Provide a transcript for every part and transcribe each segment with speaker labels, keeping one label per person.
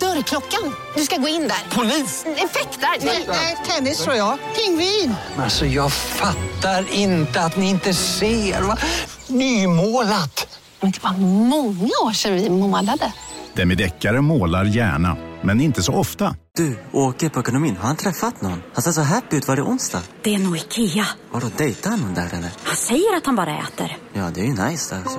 Speaker 1: Dörrklockan. Du ska gå in där. Polis? Effektar? Nej, tennis tror jag. Pingvin.
Speaker 2: Alltså jag fattar inte att ni inte ser. Va? Nymålat!
Speaker 3: Men det var många år sedan vi målade.
Speaker 4: Demideckare målar gärna, men inte så ofta.
Speaker 5: Du, åker på ekonomin. Har han träffat någon? Han ser så happy ut. Var det onsdag?
Speaker 6: Det är nog Ikea.
Speaker 5: Har du dejtat någon där eller?
Speaker 6: Han säger att han bara äter.
Speaker 5: Ja, det är ju nice alltså.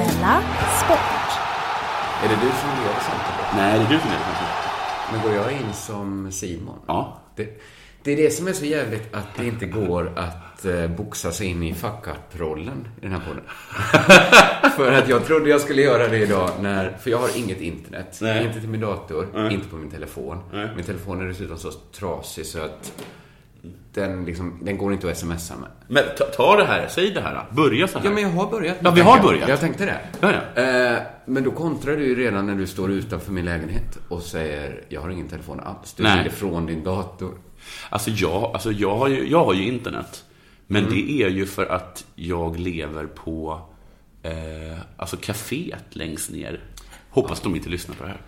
Speaker 7: Della Sport.
Speaker 8: Är det du som leder samtalet?
Speaker 9: Nej, det är du som leder samtalet.
Speaker 8: Men går jag in som Simon?
Speaker 9: Ja.
Speaker 8: Det, det är det som är så jävligt att det inte går att eh, boxa sig in i fuck rollen i den här podden. för att jag trodde jag skulle göra det idag när... För jag har inget internet.
Speaker 9: Nej.
Speaker 8: Inte till min dator,
Speaker 9: Nej.
Speaker 8: inte på min telefon.
Speaker 9: Nej.
Speaker 8: Min telefon är dessutom så trasig så att den, liksom, den går inte att smsa med.
Speaker 9: Men ta, ta det här, säg det här. då. Börja så här.
Speaker 8: Ja, men jag har börjat.
Speaker 9: Ja, vi har
Speaker 8: Jag-
Speaker 9: börjat.
Speaker 8: Jag tänkte det.
Speaker 9: Ja, ja.
Speaker 8: Eh, men då kontrar du ju redan när du står utanför min lägenhet och säger jag har ingen telefon alls. Du
Speaker 9: Nej.
Speaker 8: ringer från din dator.
Speaker 9: Alltså, jag, alltså jag, har ju, jag har ju internet. Men det är ju för att jag lever på eh, alltså kaféet längst ner. Hoppas de inte lyssnar på det här.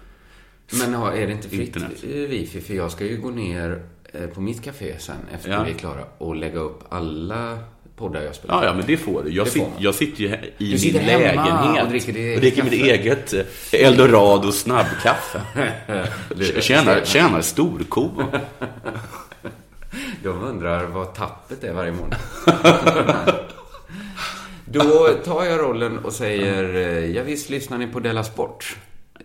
Speaker 8: Men ha, är det inte fritt
Speaker 9: Internet.
Speaker 8: eh, wifi? För jag ska ju gå ner eh, på mitt café sen efter
Speaker 9: Ja.
Speaker 8: vi är klara och lägga upp alla poddar jag spelar.
Speaker 9: Ja, ja, men det får du. Jag,
Speaker 8: Det får
Speaker 9: sit,
Speaker 8: man.
Speaker 9: jag sitter ju he- i
Speaker 8: Du sitter
Speaker 9: min
Speaker 8: hemma
Speaker 9: lägenhet
Speaker 8: och dricker ditt
Speaker 9: och dricker
Speaker 8: eget
Speaker 9: mitt eget eh, eldorado snabbkaffe.
Speaker 8: Det-
Speaker 9: tjänar, tjänar storko.
Speaker 8: De undrar vad tappet är varje månad. Då tar jag rollen och säger eh, ja visst lyssnar ni på Della Sport.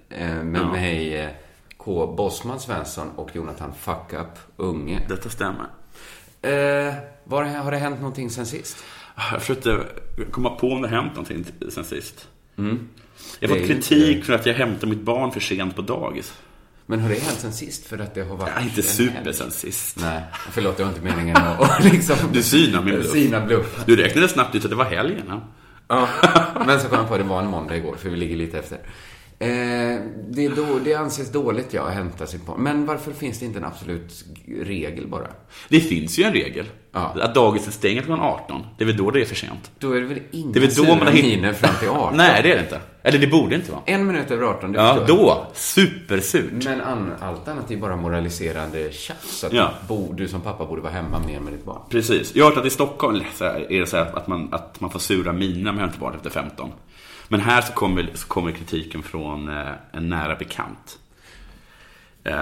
Speaker 8: Eh, Med mig eh, K. Bosman Svensson och Jonathan Fuck Up Unge.
Speaker 9: Detta stämmer.
Speaker 8: Eh, var, har det hänt någonting sen sist?
Speaker 9: Jag försökte komma på om det har hänt någonting sen sist. Jag
Speaker 8: Mm. Det
Speaker 9: har
Speaker 8: är
Speaker 9: fått
Speaker 8: ju
Speaker 9: kritik för att jag hämtar mitt barn för sent på dagis.
Speaker 8: Men har det hänt sen sist? För att det har varit...
Speaker 9: Nej, inte
Speaker 8: en
Speaker 9: super
Speaker 8: helg.
Speaker 9: sen sist.
Speaker 8: Nej, förlåt, det var inte meningen att att liksom...
Speaker 9: Du synar min bluff.
Speaker 8: Sina bluff.
Speaker 9: Du räknade snabbt ut att det var helgen. Ja?
Speaker 8: Ja, men så kom jag på att det var en måndag igår, för vi ligger lite efter. Eh, det, är då, det anses dåligt, ja, att hämta sitt barn. Men varför finns det inte en absolut regel bara?
Speaker 9: Det finns ju en regel.
Speaker 8: Ja.
Speaker 9: Att dagiset stänger klockan 18. Det är väl då det är för sent.
Speaker 8: Då är det väl inga
Speaker 9: Det är väl då man har
Speaker 8: miner Alltså, fram till 18?
Speaker 9: Nej, det är det inte. Eller det borde inte vara.
Speaker 8: En minut över 18, det
Speaker 9: Ja,
Speaker 8: förstår jag.
Speaker 9: då. Supersurt.
Speaker 8: Men an, allt annat är ju bara moraliserande tjafs. Att
Speaker 9: Ja.
Speaker 8: bo, du som pappa borde vara hemma mer med ditt barn.
Speaker 9: Precis. Jag har hört att i Stockholm så här, är det så här att, man, att man får sura mina med hämtbarn efter 15. Men här så kommer, så kommer kritiken från eh, en nära bekant. Eh,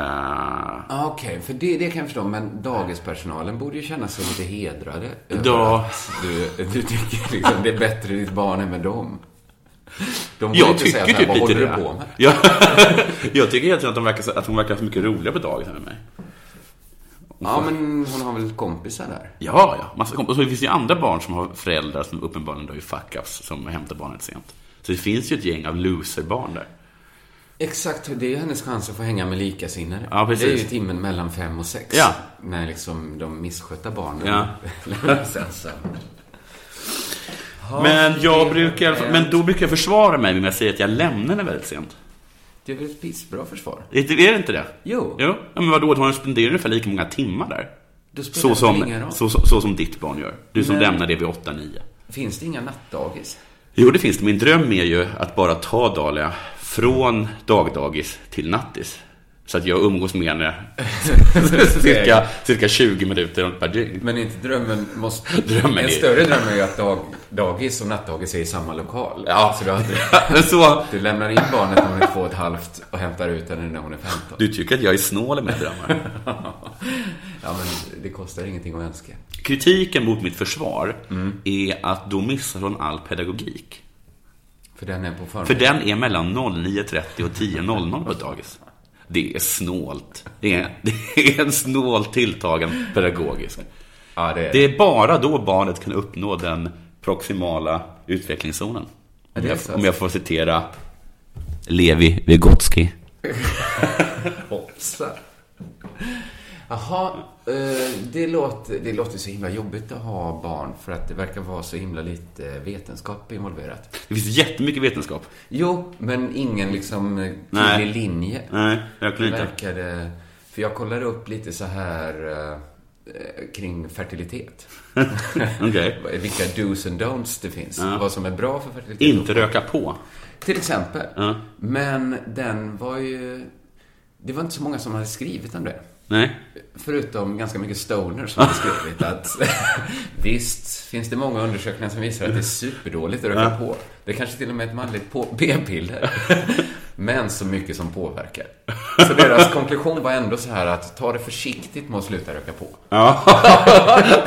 Speaker 8: Ja, Okej, för det, det kan jag förstå. Men dagispersonalen borde ju känna sig lite hedrade. över
Speaker 9: Ja.
Speaker 8: att Du, du tycker liksom det är bättre ditt barn än med dem. De borde
Speaker 9: jag
Speaker 8: inte säga
Speaker 9: tycker
Speaker 8: så här,
Speaker 9: typ
Speaker 8: vad
Speaker 9: lite det.
Speaker 8: håller du på med?
Speaker 9: Jag, jag tycker egentligen att, de verkar, så- att hon verkar så mycket roligare på dagis än med mig.
Speaker 8: Ja, men hon har väl kompisar där?
Speaker 9: Ja, ja. Massa komp- och så finns det ju andra barn som har föräldrar som uppenbarligen då är fuck-ups som hämtar barnet sent. Så det finns ju ett gäng av loserbarn där.
Speaker 8: Exakt, det är ju hennes chans att få hänga med likasinnade.
Speaker 9: Ja, precis.
Speaker 8: Det är ju timmen mellan fem och sex.
Speaker 9: Ja.
Speaker 8: När liksom de misskötta barnen
Speaker 9: Ja.
Speaker 8: lämnas ensamma. Ja,
Speaker 9: Men jag
Speaker 8: det-
Speaker 9: brukar, i alla fall- men då brukar jag försvara mig med att säga att jag lämnar henne väldigt sent.
Speaker 8: Det är väl ett pissbra försvar?
Speaker 9: Är det är det inte det?
Speaker 8: Jo.
Speaker 9: Jo. Ja, men vadå, hon spenderar ungefär lika många timmar där.
Speaker 8: Då spelar
Speaker 9: Så
Speaker 8: det väl
Speaker 9: som,
Speaker 8: ingen roll.
Speaker 9: så, så, så som ditt barn gör. Du som
Speaker 8: Nej.
Speaker 9: lämnar det vid 8-9.
Speaker 8: Finns det inga nattdagis?
Speaker 9: Jo, det finns det. Min dröm är ju att bara ta Dahlia från dagdagis till nattis. Så att jag umgås med henne cirka, cirka 20 minuter runt per dygn.
Speaker 8: Men inte drömmen måste...
Speaker 9: Drömmen
Speaker 8: en
Speaker 9: är-
Speaker 8: större dröm är ju att dag, dagis och nattdagis är i samma lokal.
Speaker 9: Ja.
Speaker 8: Så du, har,
Speaker 9: Så-
Speaker 8: du lämnar in barnet när hon är två och ett halvt och hämtar ut henne när hon är 15.
Speaker 9: Du tycker att jag är snål med drömmar.
Speaker 8: Ja, men det kostar ingenting att önska.
Speaker 9: Kritiken mot mitt försvar
Speaker 8: Mm.
Speaker 9: är att då missar hon all pedagogik.
Speaker 8: För den är på förmiddagen.
Speaker 9: För den är mellan 09.30 och 10.00 på ett dagis. Det är snålt. Det är, det är en snålt tilltagen pedagogisk.
Speaker 8: Ja, det är
Speaker 9: Det är bara då barnet kan uppnå den proximala utvecklingszonen.
Speaker 8: Ja,
Speaker 9: Om
Speaker 8: det är
Speaker 9: jag,
Speaker 8: så.
Speaker 9: om jag får citera Levi Vygotsky.
Speaker 8: Hoppsa. Jaha, eh, det låter, det låter så himla jobbigt att ha barn för att det verkar vara så himla lite vetenskap involverat.
Speaker 9: Det finns jättemycket vetenskap.
Speaker 8: Jo, men ingen liksom eh,
Speaker 9: Nej.
Speaker 8: tydlig linje.
Speaker 9: Nej, verkligen
Speaker 8: Det
Speaker 9: inte.
Speaker 8: verkade, för jag kollade upp lite så här eh, eh, kring fertilitet.
Speaker 9: Okej.
Speaker 8: Vilka do's and don'ts det finns.
Speaker 9: Ja.
Speaker 8: Vad som är bra för fertilitet.
Speaker 9: Inte röka på.
Speaker 8: Till exempel.
Speaker 9: Ja.
Speaker 8: Men den var ju... Det var inte så många som hade skrivit om det.
Speaker 9: Nej.
Speaker 8: Förutom ganska mycket stoner som har skrivit att visst finns det många undersökningar som visar att det är superdåligt att röka på. Det är kanske till och med ett manligt på- p-piller. Men så mycket som påverkar. Så deras konklusion var ändå så här att ta det försiktigt med att sluta röka på.
Speaker 9: Ja.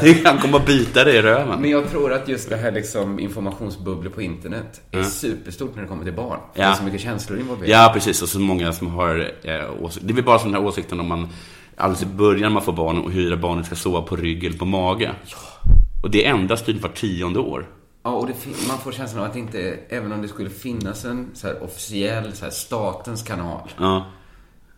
Speaker 9: Det kan komma och bita dig i röven.
Speaker 8: Men jag tror att just det här liksom informationsbubblor på internet är
Speaker 9: Ja.
Speaker 8: superstort när det kommer till barn. Det är
Speaker 9: Ja.
Speaker 8: så mycket känslor involverade.
Speaker 9: Ja, precis. Och så många som har eh, åsikter. Det är väl bara sån här åsikten om man alldeles i början när man får barn och hur barnet ska sova på rygg eller på mage. Och det ändras typ var tionde år.
Speaker 8: Ja, och det, fin- man får känslan av att inte, även om det skulle finnas en så här officiell så här statens kanal,
Speaker 9: Ja.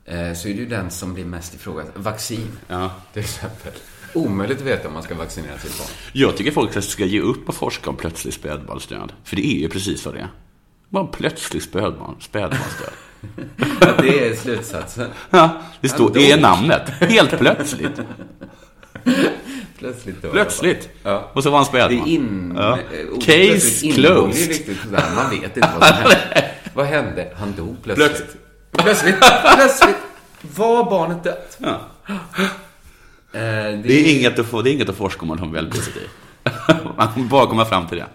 Speaker 8: eh, så är det ju den som blir mest ifrågasatt. Vaccin,
Speaker 9: Ja.
Speaker 8: till exempel. Omöjligt att veta om man ska vaccinera sitt barn.
Speaker 9: Jag tycker folk ska ge upp och forska om plötslig spädbarnsdöd. För det är ju precis vad det är. Bara plötslig spädbarn, spädbarnsdöd.
Speaker 8: Att det är slutsatsen.
Speaker 9: Ja, det, står, det är
Speaker 8: Ändå.
Speaker 9: namnet. Helt plötsligt.
Speaker 8: Plötsligt då.
Speaker 9: Plötsligt.
Speaker 8: Ja.
Speaker 9: Och så var han
Speaker 8: Det
Speaker 9: spädbarn.
Speaker 8: är in...
Speaker 9: Ja.
Speaker 8: eh, ordet plötsligt
Speaker 9: Case
Speaker 8: ingår ju
Speaker 9: closed.
Speaker 8: riktigt sådär. Man vet inte vad som hände. vad hände? Han dog plötsligt.
Speaker 9: Plötsligt.
Speaker 8: Plötsligt. plötsligt var barnet dött.
Speaker 9: Ja.
Speaker 8: Eh, det,
Speaker 9: Det är inget att, få, det är inget att forska om man har väl positiv. Man kommer bara komma fram till det.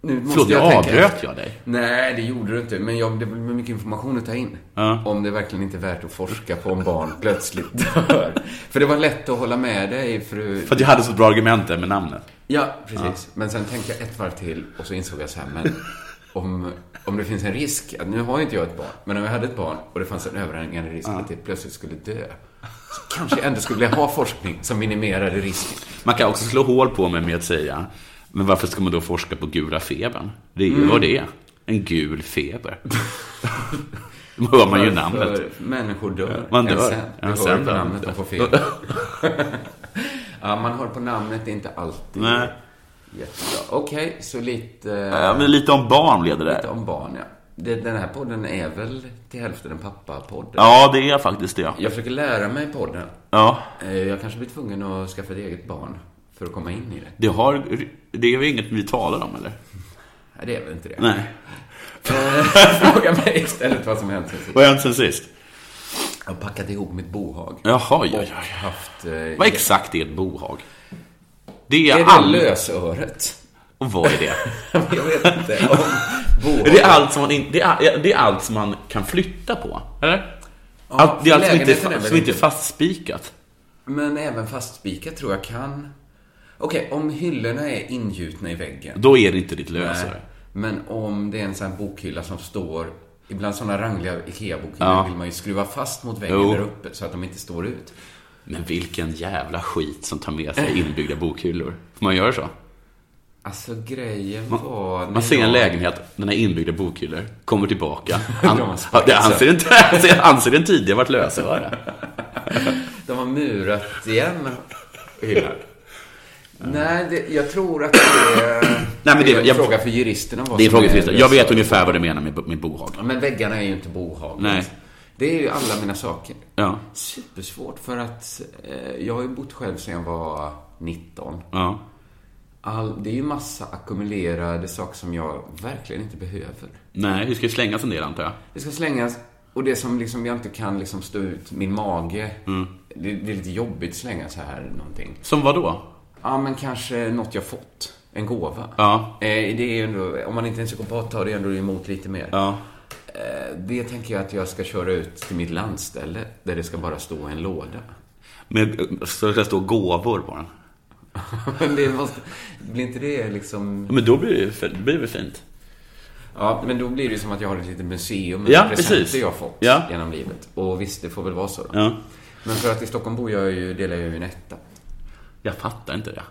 Speaker 8: Nu måste
Speaker 9: Förlåt, jag
Speaker 8: tänka
Speaker 9: avbröt
Speaker 8: efter.
Speaker 9: jag dig?
Speaker 8: Nej, det gjorde du inte. Men jag, det var mycket information att ta in.
Speaker 9: Ja.
Speaker 8: Om det verkligen inte är värt att forska på om barn plötsligt dör. För det var lätt att hålla med dig, fru...
Speaker 9: För att jag hade så bra argument där med namnet.
Speaker 8: Ja, precis. Men sen tänkte jag ett varv till och så insåg jag så här, men om, om det finns en risk, att nu har ju inte jag ett barn, men om jag hade ett barn och det fanns en överhängande risk att det plötsligt skulle dö, så kanske jag ändå skulle vilja ha forskning som minimerade risken.
Speaker 9: Man kan också slå hål på mig med att säga, men varför ska man då forska på gula febern? Det är ju
Speaker 8: Mm.
Speaker 9: vad det är. En gul feber. Då hör man ju
Speaker 8: Varför
Speaker 9: namnet.
Speaker 8: Människor dör.
Speaker 9: Man dör.
Speaker 8: Än sen.
Speaker 9: Än
Speaker 8: Du hör
Speaker 9: sen
Speaker 8: ju på
Speaker 9: dör.
Speaker 8: namnet och får fel. ja, man hör på namnet, det är inte alltid
Speaker 9: Nej.
Speaker 8: jättebra. Okej, så lite,
Speaker 9: Ja, men lite om barn blev det
Speaker 8: lite
Speaker 9: där.
Speaker 8: om barn, ja. Det- Den här podden är väl till hälften en pappa-podd?
Speaker 9: Ja, det är faktiskt det.
Speaker 8: Jag försöker lära mig podden.
Speaker 9: Ja.
Speaker 8: Eh, Jag kanske blir tvungen att skaffa ett eget barn för att komma in i det.
Speaker 9: Det, har, det är ju inget vi talar om, eller?
Speaker 8: Nej, det är väl inte det.
Speaker 9: Nej.
Speaker 8: Fråga mig istället vad som hänt sen sist.
Speaker 9: Vad har hänt sen sist?
Speaker 8: Jag har packat ihop mitt bohag.
Speaker 9: Jaha, ja,
Speaker 8: Och
Speaker 9: ja, ja.
Speaker 8: haft... eh,
Speaker 9: Vad exakt är ett bohag? Det
Speaker 8: Är
Speaker 9: är,
Speaker 8: det
Speaker 9: all...
Speaker 8: lösöret?
Speaker 9: Och vad är det?
Speaker 8: Jag vet inte. Om bohag.
Speaker 9: det, är allt som man in... det, är, det är allt som man kan flytta på, eller? allt, det är allt som inte,
Speaker 8: lägenheten är
Speaker 9: är
Speaker 8: väl
Speaker 9: som inte är
Speaker 8: inte-
Speaker 9: fastspikat.
Speaker 8: Men även fastspikat tror jag kan... Okej, om hyllorna är ingjutna i väggen.
Speaker 9: Då är det inte ditt
Speaker 8: Nej.
Speaker 9: lösöre.
Speaker 8: Men om det är en sån här bokhylla som står... Ibland sådana rangliga IKEA-bokhyllor
Speaker 9: Ja.
Speaker 8: vill man ju skruva fast mot väggen
Speaker 9: Jo.
Speaker 8: där uppe så att de inte står ut.
Speaker 9: Men vilken jävla skit som tar med sig inbyggda bokhyllor. Får man göra så?
Speaker 8: Alltså grejen
Speaker 9: Man,
Speaker 8: var... när
Speaker 9: man ser en
Speaker 8: jag-
Speaker 9: lägenhet, den har inbyggda bokhyllor, kommer tillbaka.
Speaker 8: De har
Speaker 9: Han,
Speaker 8: sparat
Speaker 9: ja, det
Speaker 8: sig.
Speaker 9: anser inte, anser- anser den tidigare varit lösöre.
Speaker 8: De har murat igen hyllan. Nej, det, jag tror att det är,
Speaker 9: Nej, men det-
Speaker 8: är en
Speaker 9: jag-
Speaker 8: fråga för juristerna. vad
Speaker 9: Det är
Speaker 8: som
Speaker 9: frågan till Jag vet
Speaker 8: lösöre.
Speaker 9: ungefär vad du menar med, med bohag.
Speaker 8: Ja, Men väggarna är ju inte bohagligt.
Speaker 9: Nej.
Speaker 8: Det är ju alla mina saker.
Speaker 9: Ja.
Speaker 8: Supersvårt för att eh, jag har ju bott själv sedan jag var 19.
Speaker 9: Ja.
Speaker 8: All, det är ju massa ackumulerade saker som jag verkligen inte behöver.
Speaker 9: Nej, vi ska ju slängas en del antar jag.
Speaker 8: Det ska slängas Och det som liksom jag inte kan liksom stå ut, min mage.
Speaker 9: Mm.
Speaker 8: Det, det är lite jobbigt att slänga så här någonting.
Speaker 9: Som vad då?
Speaker 8: Ja, men kanske något jag fått. En gåva.
Speaker 9: Ja.
Speaker 8: Eh, det är ju ändå, om man inte är en psykopat tar det ändå emot lite mer.
Speaker 9: Ja.
Speaker 8: Eh, det tänker jag att jag ska köra ut till mitt landställe där det ska bara stå en låda.
Speaker 9: Med, eh, så det ska stå gåvor på den.
Speaker 8: men det måste, blir inte det liksom...
Speaker 9: Men då blir det, ju fin- det blir väl fint?
Speaker 8: Ja, men då blir det som att jag har ett litet museum med
Speaker 9: Ja,
Speaker 8: presenter
Speaker 9: precis.
Speaker 8: jag fått
Speaker 9: Ja.
Speaker 8: genom livet. Och visst, det får väl vara så då.
Speaker 9: Ja.
Speaker 8: Men för att i Stockholm bor jag ju, delar jag ju en etta.
Speaker 9: Jag fattar inte det.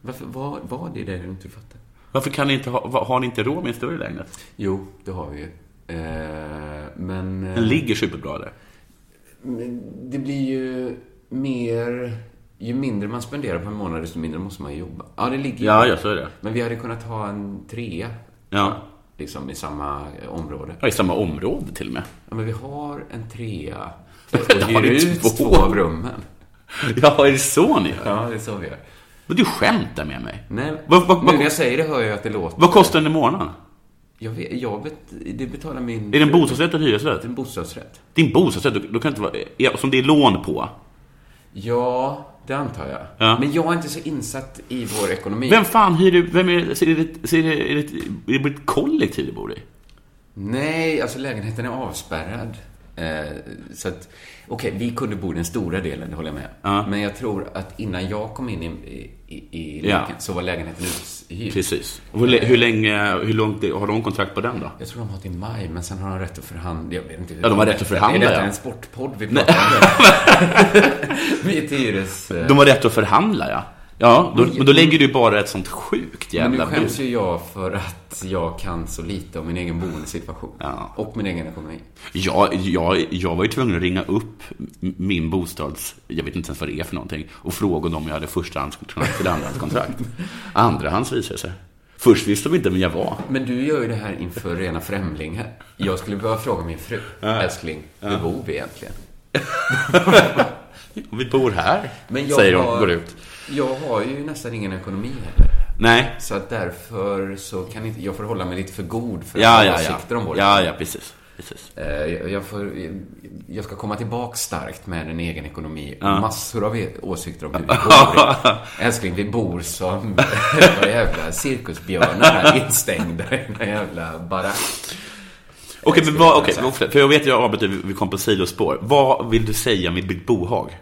Speaker 8: Varför var, var det det du inte fattar?
Speaker 9: Varför kan ni inte ha, va- har ni inte råd med en större lägenhet?
Speaker 8: Jo, det har vi ju. Eh, men... eh,
Speaker 9: Den ligger superbra där.
Speaker 8: men Det blir ju mer... Ju mindre man spenderar på en månad, desto mindre måste man ju jobba. Ja, det ligger ju-
Speaker 9: Ja, ja, så är det.
Speaker 8: Men vi hade kunnat ha en trea.
Speaker 9: Ja.
Speaker 8: Liksom i samma eh, område.
Speaker 9: Ja, i samma område till och med.
Speaker 8: Ja, men vi har en trea
Speaker 9: Det
Speaker 8: och
Speaker 9: har
Speaker 8: hyr
Speaker 9: ni
Speaker 8: ut
Speaker 9: två.
Speaker 8: två. av rummen.
Speaker 9: Ja, är det så ni gör?
Speaker 8: Ja, det är så vi gör.
Speaker 9: Men du skämtar med mig?
Speaker 8: Nej,
Speaker 9: Vad, vad,
Speaker 8: nu när jag
Speaker 9: vad,
Speaker 8: säger det hör jag att det låter...
Speaker 9: vad kostar den i månaden?
Speaker 8: Jag vet, jag vet det betalar min...
Speaker 9: Är det en bostadsrätt eller en hyresrätt?
Speaker 8: En bostadsrätt.
Speaker 9: Din bostadsrätt, då, då kan det inte vara... ja, Som det är lån på.
Speaker 8: Ja, det antar jag.
Speaker 9: Ja.
Speaker 8: Men jag är inte så insatt i vår ekonomi.
Speaker 9: Vem fan hyr du... Vem är, ser det, ser det, är det, är det ett kollektiv du bor i?
Speaker 8: Nej, alltså lägenheten är avspärrad. Eh, så att, okej, vi kunde bo i den stora delen, det håller jag med.
Speaker 9: Ja.
Speaker 8: Men jag tror att innan jag kom in i, i, i
Speaker 9: Ja.
Speaker 8: leken så var lägenheten uthyrd.
Speaker 9: Precis. Och Hur, lä- hur länge... Hur långt är- har de kontrakt på den då?
Speaker 8: Jag tror de har till maj, men sen har de rätt att förhandla. Jag vet inte hur-
Speaker 9: Ja, de har rätt att förhandla,
Speaker 8: Är
Speaker 9: ja.
Speaker 8: detta en sportpodd vi pratar om? vi är till hyres... eh,
Speaker 9: De har rätt att förhandla, ja. Ja, då, men då lägger du bara ett sånt sjukt
Speaker 8: Men nu
Speaker 9: jävla
Speaker 8: skäms
Speaker 9: bud.
Speaker 8: ju jag för att jag kan så lite om min egen boendesituation.
Speaker 9: Ja.
Speaker 8: Och min egen ekonomi.
Speaker 9: Jag, jag, jag var ju tvungen att ringa upp m- min bostads... Jag vet inte ens vad det är för någonting. Och fråga om jag hade förstahandskontrakt eller andrahandskontrakt. Andrahands visade sig. Först visste de inte vem jag var.
Speaker 8: Men du gör ju det här inför rena främlingar. Jag skulle behöva fråga min fru. Älskling, hur bor vi egentligen?
Speaker 9: Vi bor här,
Speaker 8: Men jag
Speaker 9: säger hon,
Speaker 8: har,
Speaker 9: går ut.
Speaker 8: Jag har ju nästan ingen ekonomi heller.
Speaker 9: Nej.
Speaker 8: Så att därför så kan inte... Jag får hålla mig lite för god för
Speaker 9: Ja,
Speaker 8: att
Speaker 9: ja,
Speaker 8: ha
Speaker 9: ja.
Speaker 8: åsikter om vår
Speaker 9: Ja, ja, precis. precis.
Speaker 8: Eh, Jag, jag, får, jag ska komma tillbaka starkt med en egen ekonomi.
Speaker 9: Ja.
Speaker 8: Massor av e- åsikter om hur vi bor. Älskling, vi bor som några jävla cirkusbjörnar här instängda i en jävla alltså. barack.
Speaker 9: Okej, men
Speaker 8: skulle
Speaker 9: vad,
Speaker 8: kunna
Speaker 9: okej,
Speaker 8: säga.
Speaker 9: för jag vet att jag arbetar vi kom på sidospår. Vad vill du säga med ditt bohag?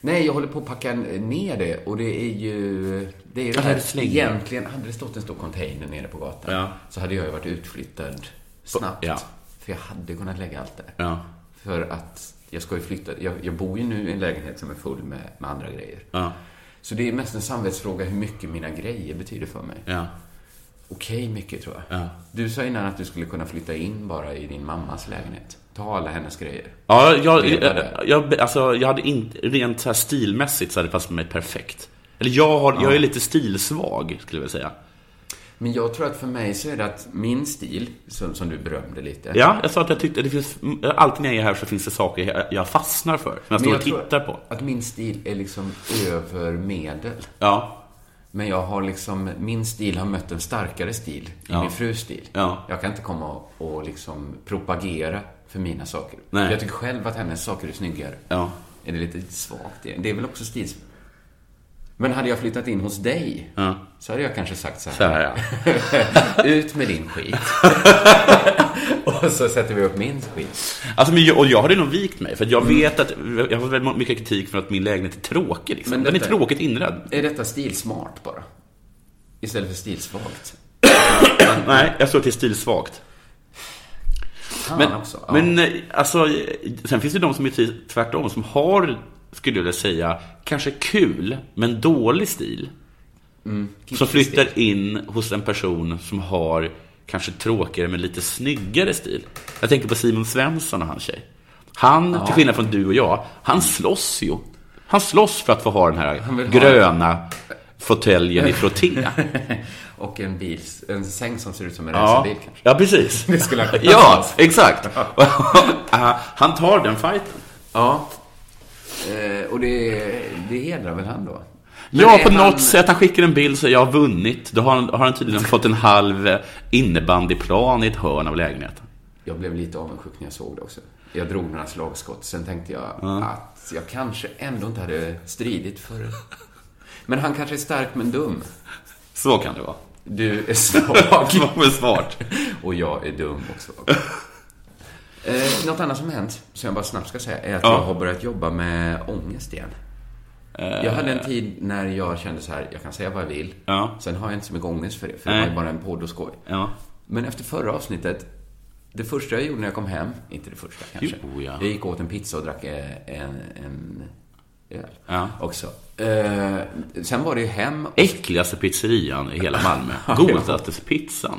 Speaker 8: Nej, jag håller på att packa ner det och det är ju... Det är ju det
Speaker 9: Ja,
Speaker 8: här,
Speaker 9: du slänger.
Speaker 8: egentligen, hade det stått en stor container nere på gatan
Speaker 9: Ja.
Speaker 8: så hade jag ju varit utflyttad snabbt.
Speaker 9: Ja.
Speaker 8: För jag hade kunnat lägga allt där.
Speaker 9: Ja.
Speaker 8: För att jag ska ju flytta. Jag, jag bor ju nu i en lägenhet som är full med, med andra grejer.
Speaker 9: Ja.
Speaker 8: Så det är mest en samvetsfråga hur mycket mina grejer betyder för mig.
Speaker 9: Ja.
Speaker 8: Okej mycket tror jag.
Speaker 9: Ja.
Speaker 8: Du sa innan att du skulle kunna flytta in bara i din mammas lägenhet. Ta alla hennes grejer.
Speaker 9: Ja, jag,
Speaker 8: Leva
Speaker 9: jag,
Speaker 8: där.
Speaker 9: jag, alltså, jag hade inte, rent så här stilmässigt så hade det passat mig perfekt. Eller jag, har, jag är lite stilsvag, skulle jag vilja säga.
Speaker 8: Men jag tror att för mig så är det att min stil, som, som du berömde lite.
Speaker 9: Ja, jag sa att jag tyckte, det finns, alltid när jag är här så finns det saker jag, jag fastnar för. Som jag står
Speaker 8: Men
Speaker 9: och tittar
Speaker 8: tror
Speaker 9: på.
Speaker 8: att min stil är liksom över medel.
Speaker 9: Ja.
Speaker 8: Men jag har liksom, min stil har mött en starkare stil i
Speaker 9: Ja.
Speaker 8: min frus stil.
Speaker 9: Ja.
Speaker 8: Jag kan inte komma och, och liksom propagera för mina saker.
Speaker 9: Nej.
Speaker 8: Jag tycker själv att hennes saker är snyggare.
Speaker 9: Ja.
Speaker 8: Är det lite svagt det? Det är väl också stils... Men hade jag flyttat in hos dig
Speaker 9: Ja.
Speaker 8: så hade jag kanske sagt så här.
Speaker 9: Så här, ja.
Speaker 8: Ut med din skit. och så sätter vi upp min skit.
Speaker 9: Alltså, men jag, och jag hade nog vikt mig, för att jag
Speaker 8: Mm.
Speaker 9: vet att jag har väldigt mycket kritik för att min lägenhet är tråkig. Liksom.
Speaker 8: Men
Speaker 9: Den är
Speaker 8: detta-
Speaker 9: tråkigt inredd.
Speaker 8: Är detta stilsmart bara? Istället för stilsvagt?
Speaker 9: Nej, jag står till stilsvagt.
Speaker 8: Fan
Speaker 9: Men,
Speaker 8: också. Ja.
Speaker 9: men eh, alltså, eh, sen finns det de som är t- tvärtom, som har, skulle jag vilja säga, kanske kul, men dålig stil.
Speaker 8: Mm,
Speaker 9: som flyttar in hos en person som har kanske tråkigare, men lite snyggare stil. Jag tänker på Simon Svensson och hans tjej. Han, till skillnad från du och jag, han slåss ju. Han slåss för att få ha den
Speaker 8: Han vill
Speaker 9: här
Speaker 8: ha-
Speaker 9: gröna fåtöljen i frotté.
Speaker 8: Och en bil, en säng som ser ut som en
Speaker 9: Ja,
Speaker 8: racerbil kanske.
Speaker 9: ja precis.
Speaker 8: Det skulle han kunna
Speaker 9: Ja,
Speaker 8: säga.
Speaker 9: exakt. Ah, han tar den fighten.
Speaker 8: Ja. Eh, och det, det hedrar väl han då? Men
Speaker 9: ja,
Speaker 8: är
Speaker 9: på
Speaker 8: han-
Speaker 9: något sätt. Han skickar en bild så jag har vunnit. Då har han, har han tydligen fått en halv innebandyplan i ett hörn av lägenheten.
Speaker 8: Jag blev lite avundsjuk när jag såg det också. Jag drog några slagskott. Sen tänkte jag att jag kanske ändå inte hade stridit för det. Men han kanske är stark men dum.
Speaker 9: Så kan det vara.
Speaker 8: Du är svag.
Speaker 9: Svag men smart.
Speaker 8: Och jag är dum och svag. Eh, något annat som hänt, som jag bara snabbt ska säga, är att
Speaker 9: Ja. Eh.
Speaker 8: jag har börjat jobba med ångest igen. Jag hade en tid när jag kände så här, jag kan säga vad jag vill.
Speaker 9: Ja.
Speaker 8: Sen har jag inte så mycket ångest för det, för jag
Speaker 9: Nej.
Speaker 8: har ju bara en podd och skoj.
Speaker 9: Ja.
Speaker 8: Men efter förra avsnittet, det första jag gjorde när jag kom hem, inte det första kanske.
Speaker 9: Jo, ja.
Speaker 8: Jag gick och åt en pizza och drack eh, en, en öl
Speaker 9: Ja.
Speaker 8: också. Eh, sen var det ju hem.
Speaker 9: Äckligaste pizzerian i hela Malmö. Godaste pizzan.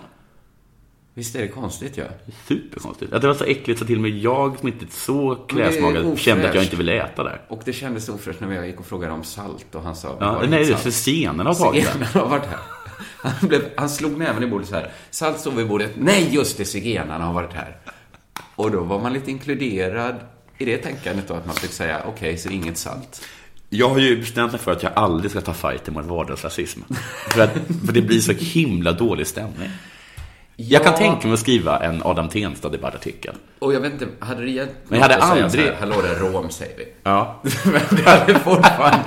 Speaker 8: Visst är det konstigt ju? Ja?
Speaker 9: Superkonstigt. Att det var så äckligt så till och med jag som inte är så
Speaker 8: det är
Speaker 9: klädsmagad kände att jag
Speaker 8: ofräscht.
Speaker 9: inte ville äta där.
Speaker 8: Och det kändes ofräscht när jag gick och frågade om salt och han sa...
Speaker 9: Ja,
Speaker 8: "Var det
Speaker 9: nej,
Speaker 8: inte
Speaker 9: det är
Speaker 8: salt?"
Speaker 9: för scenen har varit där.
Speaker 8: Zigenarna har varit här. Han, blev, han slog näven i bordet så här. Salt stod vid bordet. Nej, just det, zigenarna har varit här. Och då var man lite inkluderad i det tänkandet då, att man fick säga okej, så inget salt.
Speaker 9: Jag har ju bestämt mig för att jag aldrig ska ta fighten mot vardagsrasism. För, att, för det blir så himla dålig stämning. Jag kan
Speaker 8: Ja.
Speaker 9: tänka mig att skriva en Adam Tensta-debattartikel.
Speaker 8: Och jag vet inte, hade det hjälpt
Speaker 9: Men jag hade
Speaker 8: något att säga
Speaker 9: aldrig-
Speaker 8: så här, Hallå där, rom, säger vi.
Speaker 9: Ja.
Speaker 8: Men det hade fortfarande...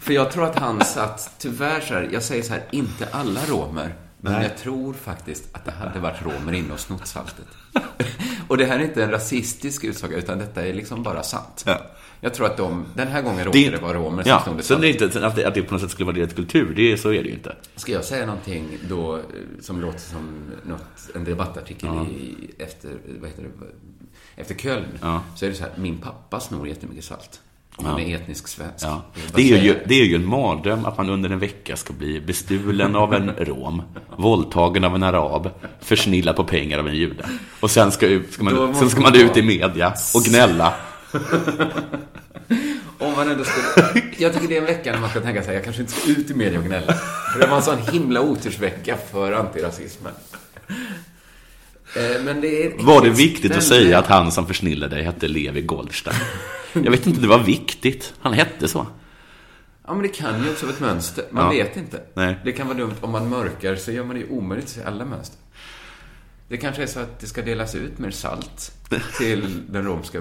Speaker 8: För jag tror att han satt, tyvärr så här, jag säger så här, inte alla romer. Men jag tror faktiskt att det hade varit romer inne och snott saltet. Och det här är inte en rasistisk utsaga, utan detta är liksom bara sant.
Speaker 9: Ja.
Speaker 8: Jag tror att de, den här gången råkade det vara romer som
Speaker 9: ja,
Speaker 8: snodde
Speaker 9: Sen är det
Speaker 8: saltet.
Speaker 9: inte sen att det, att det på något sätt skulle vara deras kultur, det, är- så är det ju inte.
Speaker 8: Ska jag säga någonting då eh, som låter som något, en debattartikel i, efter, vad heter det, efter Köln?
Speaker 9: Ja.
Speaker 8: Så är det så här, min pappa snor jättemycket salt. Han är etnisk svensk.
Speaker 9: Ja.
Speaker 8: Jag vill bara
Speaker 9: Det, är ju,
Speaker 8: säga
Speaker 9: det är ju en mardröm att man under en vecka ska bli bestulen av en rom, våldtagen av en arab, försnillad på pengar av en jude. Och sen ska, ut, ska,
Speaker 8: Då
Speaker 9: man,
Speaker 8: måste
Speaker 9: sen ska man
Speaker 8: man
Speaker 9: ut i
Speaker 8: vara-
Speaker 9: media och gnälla.
Speaker 8: Om man ändå skulle... Jag tycker det är en vecka när man ska tänka så här, jag kanske inte ska ut i media och gnälla. För det var en sån himla otursvecka för antirasismen. Eh, Men det är...
Speaker 9: Var det viktigt att
Speaker 8: ständigt-
Speaker 9: säga att han som försnillade dig hette Levi Goldstein? Jag vet inte, det var viktigt. Han hette så.
Speaker 8: Ja, men det kan ju också vara ett mönster. Man
Speaker 9: Ja.
Speaker 8: vet inte.
Speaker 9: Nej.
Speaker 8: Det kan vara dumt. Om man mörkar så gör man det ju omöjligt att se alla mönster. Det kanske är så att det ska delas ut mer salt till den romska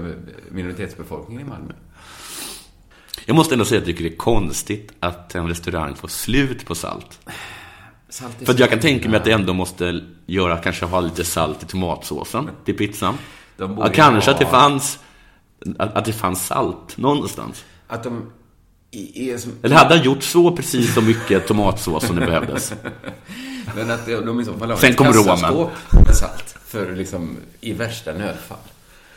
Speaker 8: minoritetsbefolkningen i Malmö.
Speaker 9: Jag måste ändå säga att jag tycker det är konstigt att en restaurang får slut på salt.
Speaker 8: Salt är
Speaker 9: För att
Speaker 8: så
Speaker 9: jag kan tänka
Speaker 8: himla-
Speaker 9: mig att det ändå måste göra, kanske ha lite salt i tomatsåsen till pizzan.
Speaker 8: De
Speaker 9: Ja,
Speaker 8: borde
Speaker 9: kanske
Speaker 8: ha-
Speaker 9: att det fanns att, att det fanns salt någonstans.
Speaker 8: Att de i- är som
Speaker 9: Eller hade han gjort så precis så mycket tomatsås som det behövdes?
Speaker 8: Men att de i så fall har
Speaker 9: Sen
Speaker 8: ett
Speaker 9: kom romen.
Speaker 8: kassaskåp med salt. För liksom, i värsta nödfall.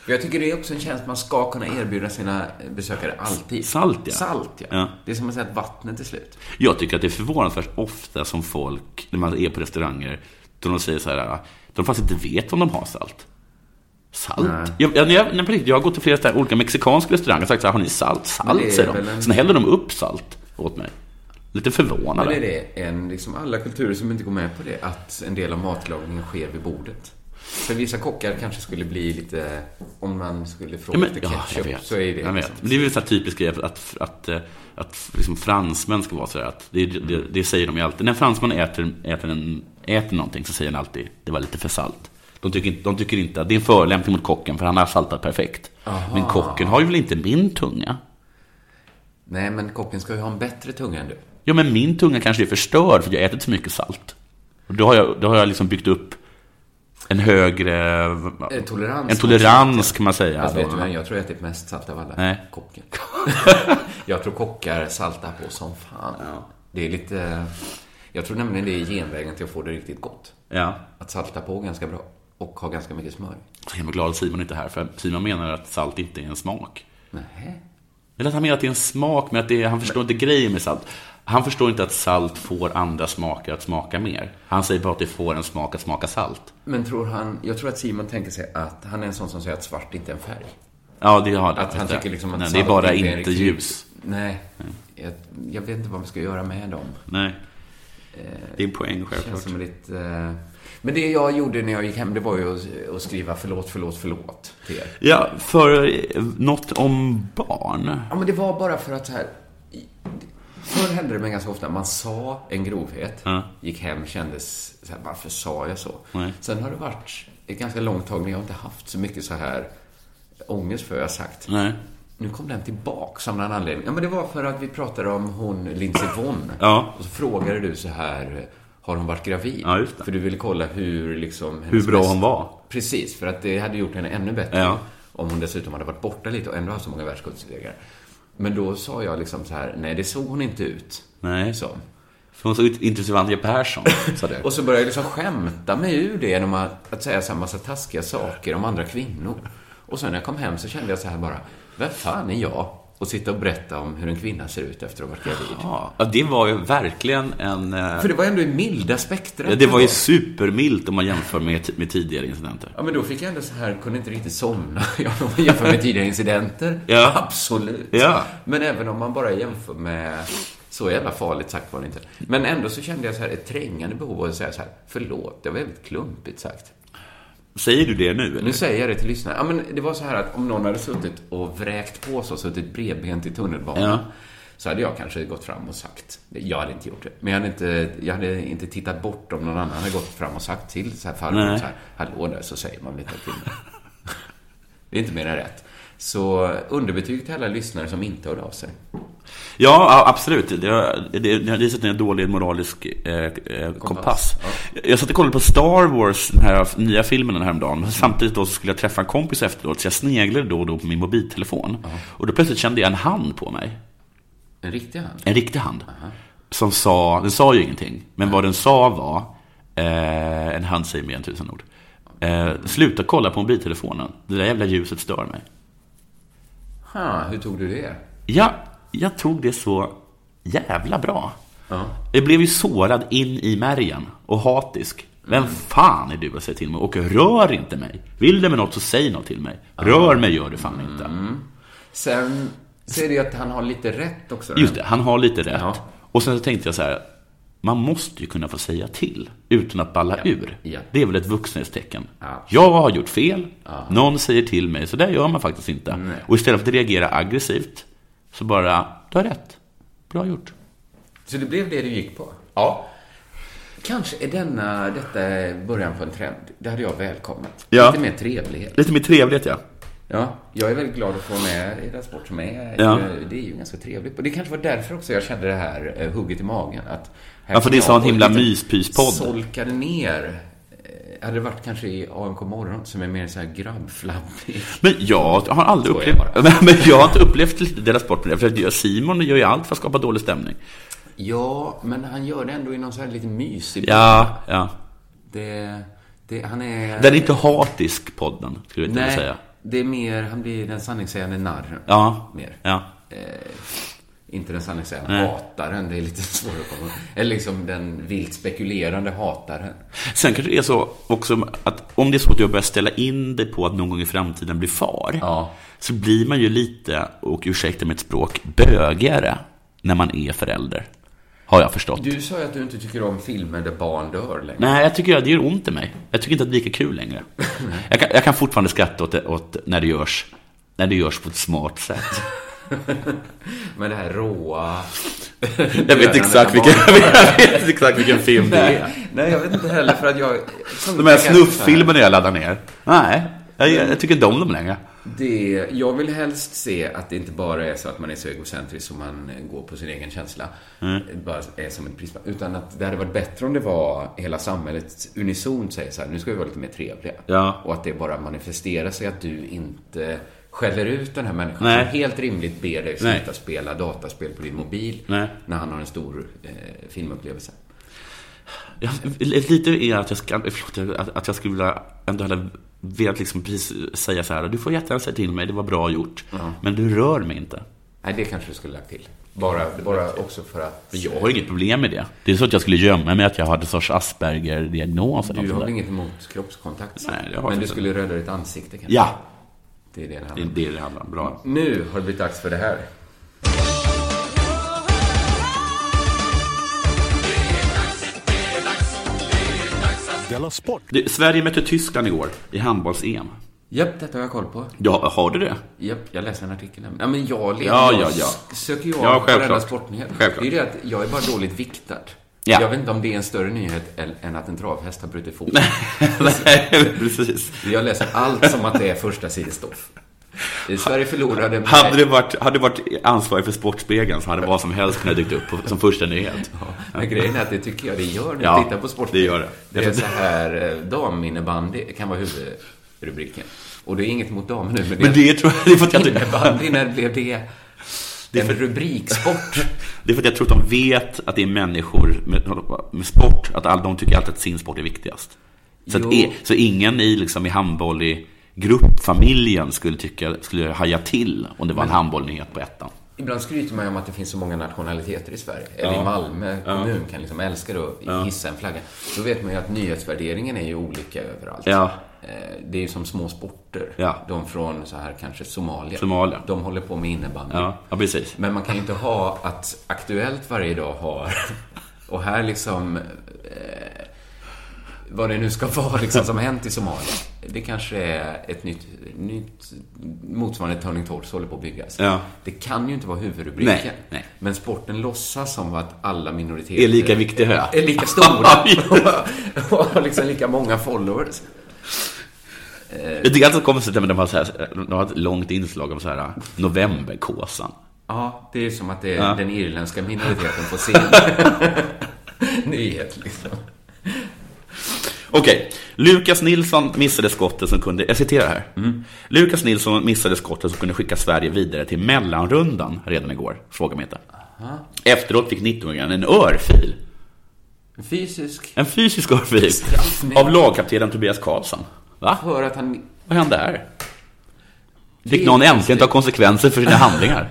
Speaker 8: För jag tycker det är också en tjänst man ska kunna erbjuda sina besökare alltid.
Speaker 9: Salt, ja.
Speaker 8: Salt, ja.
Speaker 9: Ja.
Speaker 8: Det är som att säga att vattnet är slut.
Speaker 9: Jag tycker att det är förvånansvärt ofta som folk, när man är på restauranger, då de säger så här, de faktiskt inte vet om de har salt. Salt? Jag, jag, när jag, när jag, på riktigt, jag har gått till flera så här, olika mexikanska restauranger och sagt så här, har ni salt?
Speaker 8: Men det är
Speaker 9: Salt, säger
Speaker 8: väl
Speaker 9: de.
Speaker 8: en-
Speaker 9: Sen häller de upp salt åt mig. Lite
Speaker 8: Men
Speaker 9: förvånade.
Speaker 8: är det en, liksom alla kulturer som inte går med på det, att en del av matlagningen sker vid bordet. För vissa kockar kanske skulle bli lite, om man skulle fråga
Speaker 9: Ja, men,
Speaker 8: efter
Speaker 9: ja, jag
Speaker 8: ketchup,
Speaker 9: vet.
Speaker 8: så är det
Speaker 9: jag vet.
Speaker 8: liksom-
Speaker 9: Men det är väl så här typiskt grej att, att, att, eh, att liksom fransmän ska vara så här. Att det, det, det säger de ju alltid. När fransmän äter, äter, en, äter någonting så säger de alltid det var lite för salt. De tycker, inte- de tycker inte att det är en förolämpning mot kocken för han har saltat perfekt. Men kocken har ju väl inte min tunga?
Speaker 8: Nej, men kocken ska ju ha en bättre tunga än du.
Speaker 9: Ja, men min tunga kanske är förstörd för jag har ätit så mycket salt. Och då har jag, då har jag liksom byggt upp en högre...
Speaker 8: Eh, tolerans.
Speaker 9: En tolerans kan man säga.
Speaker 8: Fast Alltså, vet
Speaker 9: då.
Speaker 8: du vem jag tror jag ätit mest salt av alla?
Speaker 9: Nej.
Speaker 8: Kocken. jag tror kockar saltar på som fan. Det är lite... Jag tror nämligen det är genvägen till att få det riktigt gott.
Speaker 9: ja.
Speaker 8: Att salta på ganska bra och ha ganska mycket smör.
Speaker 9: Så himla glad att Simon inte är här, för Simon menar att salt inte är en smak.
Speaker 8: Nej.
Speaker 9: Eller att han menar att det är en smak, men att det är, han förstår inte grejen med salt. Han förstår inte att salt får andra smaker att smaka mer. Han säger bara att det får en smak att smaka salt.
Speaker 8: Men tror han... Jag tror att Simon tänker sig att han är en sån som säger att svart inte är en färg.
Speaker 9: Ja, det har det.
Speaker 8: Att han
Speaker 9: Just det.
Speaker 8: tycker liksom att
Speaker 9: Nej, det är
Speaker 8: salt
Speaker 9: bara
Speaker 8: inte är
Speaker 9: inte
Speaker 8: riktigt-
Speaker 9: ljus.
Speaker 8: Nej. Jag, jag vet inte vad man ska göra med dem.
Speaker 9: Nej. Det är en poäng, självklart.
Speaker 8: Eh, Känns som ett, eh, Men det jag gjorde när jag gick hem, det var ju att, att skriva förlåt, förlåt, förlåt till er.
Speaker 9: Ja, för eh, något om barn.
Speaker 8: Ja, men det var bara för att så här... i- Förr hände det mig ganska ofta. Man sa en grovhet,
Speaker 9: Ja.
Speaker 8: gick hem, kändes så här, varför sa jag så?
Speaker 9: Nej.
Speaker 8: Sen har det varit ett ganska långt tag när jag inte haft så mycket så här ångest för, jag har sagt.
Speaker 9: Nej.
Speaker 8: Nu kom den tillbaks av någon anledning. Ja, men det var för att vi pratade om hon Lindsey Vonn.
Speaker 9: Ja.
Speaker 8: Och så frågade du så här, har hon varit gravid?
Speaker 9: Ja, just det.
Speaker 8: För du ville kolla hur liksom... hennes
Speaker 9: Hur bra
Speaker 8: bästa-
Speaker 9: hon var.
Speaker 8: Precis, för att det hade gjort henne ännu bättre.
Speaker 9: Ja.
Speaker 8: Om hon dessutom hade varit borta lite och ändå haft så många världscupsegrar. Men då sa jag liksom så här, nej det såg hon inte ut. Liksom.
Speaker 9: Nej.
Speaker 8: Så.
Speaker 9: För hon såg ut inte som Anja Persson, sa du.
Speaker 8: Och så började jag liksom skämta mig ur det genom att, att säga så här massa taskiga saker om andra kvinnor. Och sen när jag kom hem så kände jag så här bara, vem fan är jag? Och sitta och berätta om hur en kvinna ser ut efter att ha varit gravid.
Speaker 9: Ja, ja, det var ju verkligen en... eh,
Speaker 8: För det var ändå i milda spektrat.
Speaker 9: ja, det var ju supermilt om man jämför med, med tidigare incidenter.
Speaker 8: Ja, men då fick jag ändå så här, kunde inte riktigt somna. Jag jämför med tidigare incidenter.
Speaker 9: Ja.
Speaker 8: Absolut.
Speaker 9: Ja.
Speaker 8: Men även om man bara jämför med... Så jävla farligt sagt var det inte. Men ändå så kände jag så här ett trängande behov av att säga så här, förlåt, det var väldigt klumpigt sagt.
Speaker 9: Säger du det nu? Eller?
Speaker 8: Nu säger jag det till lyssnarna. Ja, men det var så här att om någon hade suttit och vräkt på sig och suttit bredbent i tunnelbanan.
Speaker 9: Ja.
Speaker 8: Så hade jag kanske gått fram och sagt, jag hade inte gjort det, men jag hade inte, jag hade inte tittat bort om någon annan hade gått fram och sagt till så här farbror
Speaker 9: Nej.
Speaker 8: så här, hallå där, så säger man väl inte att kvinnor. Det är inte mer än rätt. Så underbetyg till alla lyssnare som inte hörde av sig.
Speaker 9: Ja, a- absolut. Det har, det, det har visat en dålig moralisk eh, eh, kompass. Jag satt och kollade på Star Wars, den här nya filmen den häromdagen. Samtidigt då så skulle jag träffa en kompis efteråt, så jag sneglade då och då på min mobiltelefon. Och då plötsligt kände jag en hand på mig.
Speaker 8: En riktig hand.
Speaker 9: En riktig hand. Som sa, den sa ju ingenting. Men vad den sa var, eh, en hand säger mer än tusen ord. Eh, sluta kolla på mobiltelefonen. Det där jävla ljuset stör mig.
Speaker 8: Ha, hur tog du det?
Speaker 9: Ja, jag tog det så jävla bra.
Speaker 8: Ja.
Speaker 9: Jag blev ju sårad in i märgen och hatisk. Vem fan är du att säga till mig? Och rör inte mig. Vill du med något så säg något till mig. Rör mig gör du fan inte.
Speaker 8: Sen ser det att han har lite rätt också.
Speaker 9: Just det, han har lite rätt.
Speaker 8: Ja.
Speaker 9: Och sen så tänkte jag så här. Man måste ju kunna få säga till utan att balla ur.
Speaker 8: ja.
Speaker 9: Det är väl ett vuxenhetstecken.
Speaker 8: Ja.
Speaker 9: Jag har gjort fel. Någon säger till mig, så där gör man faktiskt inte. Och istället för att reagera aggressivt, så bara, du har rätt. Bra gjort.
Speaker 8: Så det blev det du gick på?
Speaker 9: Ja.
Speaker 8: Kanske är denna, detta början på en trend. Det hade jag välkomnat.
Speaker 9: Ja.
Speaker 8: Lite mer trevlighet.
Speaker 9: Lite mer trevligt, ja.
Speaker 8: Ja, jag är väldigt glad att få med er i den sport som är.
Speaker 9: Ja.
Speaker 8: Det är ju ganska trevligt. Och det kanske var därför också jag kände det här eh, hugget i magen. Att här
Speaker 9: Ja, för det är
Speaker 8: jag
Speaker 9: sån
Speaker 8: och
Speaker 9: himla
Speaker 8: lite
Speaker 9: myspyspodd.
Speaker 8: Solkade ner. Eh, Hade det varit kanske i AMK morgon som är mer så här grabbflabbig.
Speaker 9: Men jag har aldrig
Speaker 8: Så är
Speaker 9: upplevt...
Speaker 8: det
Speaker 9: Men, men jag har inte upplevt lite deras sport med det, för att jag- Simon gör ju allt för att skapa dålig stämning.
Speaker 8: Ja, men han gör det ändå i någon så här lite mysig...
Speaker 9: Ja, ja.
Speaker 8: Det, det, han är...
Speaker 9: Den är inte hatisk, podden, skulle jag vilja säga.
Speaker 8: det är mer, han blir den sanningssägande narren.
Speaker 9: Ja.
Speaker 8: Mer.
Speaker 9: Ja.
Speaker 8: Eh, inte den sanningssägande
Speaker 9: Nej.
Speaker 8: hataren, det är lite svårare att komma Eller liksom den vilt spekulerande hataren.
Speaker 9: Sen kanske det är så också att om det är så att jag börjar ställa in dig på att någon gång i framtiden bli far,
Speaker 8: Ja.
Speaker 9: så blir man ju lite, och ursäkta mitt språk, bögigare när man är förälder. Har jag förstått.
Speaker 8: Du sa ju att du inte tycker om filmer där barn dör längre.
Speaker 9: Nej, jag tycker att det gör ont i mig. Jag tycker inte att det är lika kul längre. Jag kan, jag kan fortfarande skratta åt, det, åt när, det görs, när det görs på ett smart sätt.
Speaker 8: Men det här råa...
Speaker 9: Jag vet exakt vilken, jag vet exakt vilken film det är.
Speaker 8: Nej, nej, jag vet inte heller för att jag...
Speaker 9: De här snufffilmerna jag laddar ner. Nej, jag, jag tycker inte om dem längre.
Speaker 8: Det, jag vill helst se att det inte bara är så att man är så egocentrisk som man går på sin egen känsla.
Speaker 9: Mm.
Speaker 8: Det Bara är som en prisma. Utan att det hade varit bättre om det var hela samhället unisont säger så här, nu ska vi vara lite mer trevliga.
Speaker 9: Ja.
Speaker 8: Och att det bara manifesterar sig att du inte skäller ut den här människan
Speaker 9: Nej.
Speaker 8: som helt rimligt ber dig
Speaker 9: Nej.
Speaker 8: sluta spela dataspel på din mobil
Speaker 9: Nej.
Speaker 8: när han har en stor eh, filmupplevelse.
Speaker 9: Jag, lite är att jag, ska, förlåt, att, att jag skulle vilja, ändå hade velat liksom precis säga så här, du får jättegärna säga till mig, det var bra gjort, men du rör mig inte.
Speaker 8: Nej, det kanske du skulle lagt till. Bara, bara också för att...
Speaker 9: Men jag har inget problem med det. Det är så att jag skulle gömma mig att jag hade en sorts Asperger-diagnos eller något
Speaker 8: Du
Speaker 9: sånt där.
Speaker 8: har väl inget emot kroppskontakt?
Speaker 9: Nej, det har jag
Speaker 8: Men du
Speaker 9: inte.
Speaker 8: skulle rädda ditt ansikte kanske?
Speaker 9: Ja,
Speaker 8: Det är det
Speaker 9: det
Speaker 8: det handlar
Speaker 9: är
Speaker 8: om.
Speaker 9: det det handlar om. Bra.
Speaker 8: Nu har det blivit dags för det här.
Speaker 10: Della Sport!
Speaker 9: Det, Sverige mötte Tyskland igår i handbolls-EM.
Speaker 8: Japp, detta har jag koll på.
Speaker 9: Ja, har du det?
Speaker 8: Japp, jag läste en artikel. nämligen. Ja, men jag lever.
Speaker 9: Ja,
Speaker 8: jag
Speaker 9: ja, ja.
Speaker 8: s- söker ju av
Speaker 9: Ja,
Speaker 8: på
Speaker 9: självklart.
Speaker 8: varenda sportnyhet.
Speaker 9: Självklart.
Speaker 8: Det är ju det att jag är bara dåligt viktad.
Speaker 9: Ja.
Speaker 8: Jag vet inte om det är en större nyhet än- än att en travhäst har brutit foten.
Speaker 9: Nej, precis.
Speaker 8: jag läser allt som att det är första sidestoff. Sverige förlorade med...
Speaker 9: Hade du varit, hade du varit ansvarig för Sportspegeln så hade vad som helst kunnat dykt upp på, som första nyhet.
Speaker 8: Men grejen är att det tycker jag det gör när
Speaker 9: Ja,
Speaker 8: jag tittar på Sportspegeln.
Speaker 9: det gör det.
Speaker 8: Det är så här, eh, daminnebandy kan vara huvudrubriken. Och det är inget mot damer nu, men,
Speaker 9: Men det tror jag- det är för att jag tycker-
Speaker 8: Innebandy, när blev det
Speaker 9: Det är
Speaker 8: en
Speaker 9: för-
Speaker 8: rubriksport?
Speaker 9: Det är för att jag tror att de vet att det är människor med, med sport, att all, de tycker alltid att sin sport är viktigast. Så, att
Speaker 8: Jo.
Speaker 9: e, så ingen i, liksom, i handboll i gruppfamiljen skulle, tycka, skulle haja till om det var en handbollnyhet på ettan.
Speaker 8: Ibland skryter man ju om att det finns så många nationaliteter i Sverige. Eller
Speaker 9: Ja.
Speaker 8: i Malmö
Speaker 9: Ja.
Speaker 8: kommun kan liksom älska det och hissa en flagga. Då vet man ju att nyhetsvärderingen är ju olika överallt.
Speaker 9: Ja.
Speaker 8: Eh, Det är ju som små sporter.
Speaker 9: Ja.
Speaker 8: De från så här kanske Somalia.
Speaker 9: Somalia.
Speaker 8: De håller på med innebandy.
Speaker 9: Ja, ja precis.
Speaker 8: Men man kan ju inte ha att Aktuellt varje dag har och här liksom eh, vad det nu ska vara liksom som hänt i Somalia. Det kanske är ett nytt, nytt motsvarande Turning Torso håller på att byggas.
Speaker 9: Ja.
Speaker 8: Det kan ju inte vara huvudrubriken.
Speaker 9: Nej, nej.
Speaker 8: Men sporten låtsas som att alla minoriteter
Speaker 9: Är lika viktig hö.
Speaker 8: eh, är lika stora och har liksom lika många followers.
Speaker 9: Jag tycker alltid att det kommer sig att de har, så här, de har ett långt inslag om så här novemberkåsan.
Speaker 8: Ja, det är som att det är
Speaker 9: Ja.
Speaker 8: den irländska minoriteten på sin nyhet liksom.
Speaker 9: Okej, Lukas Nilsson missade skottet som kunde, jag citerar här.
Speaker 8: Mm.
Speaker 9: Lukas Nilsson missade skottet som kunde skicka Sverige vidare till mellanrundan redan igår, fråga mig inte. Efteråt fick 19-åringen en örfil,
Speaker 8: Fysisk
Speaker 9: en fysisk örfil,
Speaker 8: Straffning.
Speaker 9: av lagkaptenen Tobias Karlsson. Va?
Speaker 8: För att han...
Speaker 9: Vad hände här?
Speaker 8: Det
Speaker 9: Fick
Speaker 8: är
Speaker 9: någon äntligen
Speaker 8: konstigt.
Speaker 9: ta konsekvenser för sina handlingar?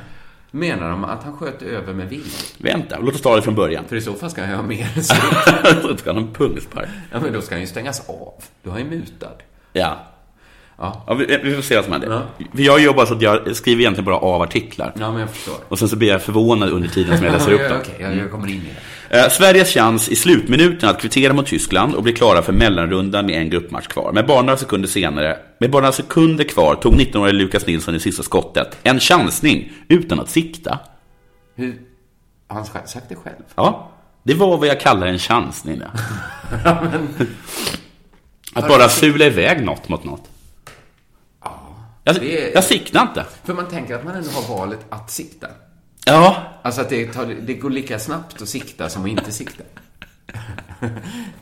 Speaker 8: Menar de att han sköt över med vilt?
Speaker 9: Vänta, låt oss ta det från början.
Speaker 8: För i så fall ska han ju ha mer än så.
Speaker 9: Så ska han ha en pungspark.
Speaker 8: Ja, men då ska han ju stängas av. Du har ju mutad.
Speaker 9: Ja.
Speaker 8: Ja.
Speaker 9: vi, vi får se vad som händer. För Jag gör bara så att jag skriver egentligen bara av artiklar.
Speaker 8: Ja, men jag förstår.
Speaker 9: Och sen så blir jag förvånad under tiden som jag läser upp
Speaker 8: Ja,
Speaker 9: dem.
Speaker 8: Okej, jag, jag kommer in i det.
Speaker 9: Eh, Sveriges chans i slutminuten att kvittera mot Tyskland och bli klara för mellanrundan med en gruppmatch kvar. Men bara några sekunder senare, med bara några sekunder kvar, tog 19-årige Lukas Nilsson det sista skottet. En chansning, utan att sikta.
Speaker 8: Hur... Har han sj- sagt det själv?
Speaker 9: Ja, det var vad jag kallar en chansning. det.
Speaker 8: Ja, men...
Speaker 9: Att bara sula iväg något mot något. Jag,
Speaker 8: det är-
Speaker 9: jag siktar inte.
Speaker 8: För man tänker att man ändå har valet att sikta.
Speaker 9: Ja,
Speaker 8: Alltså att det, tar, det går lika snabbt att sikta som att inte sikta.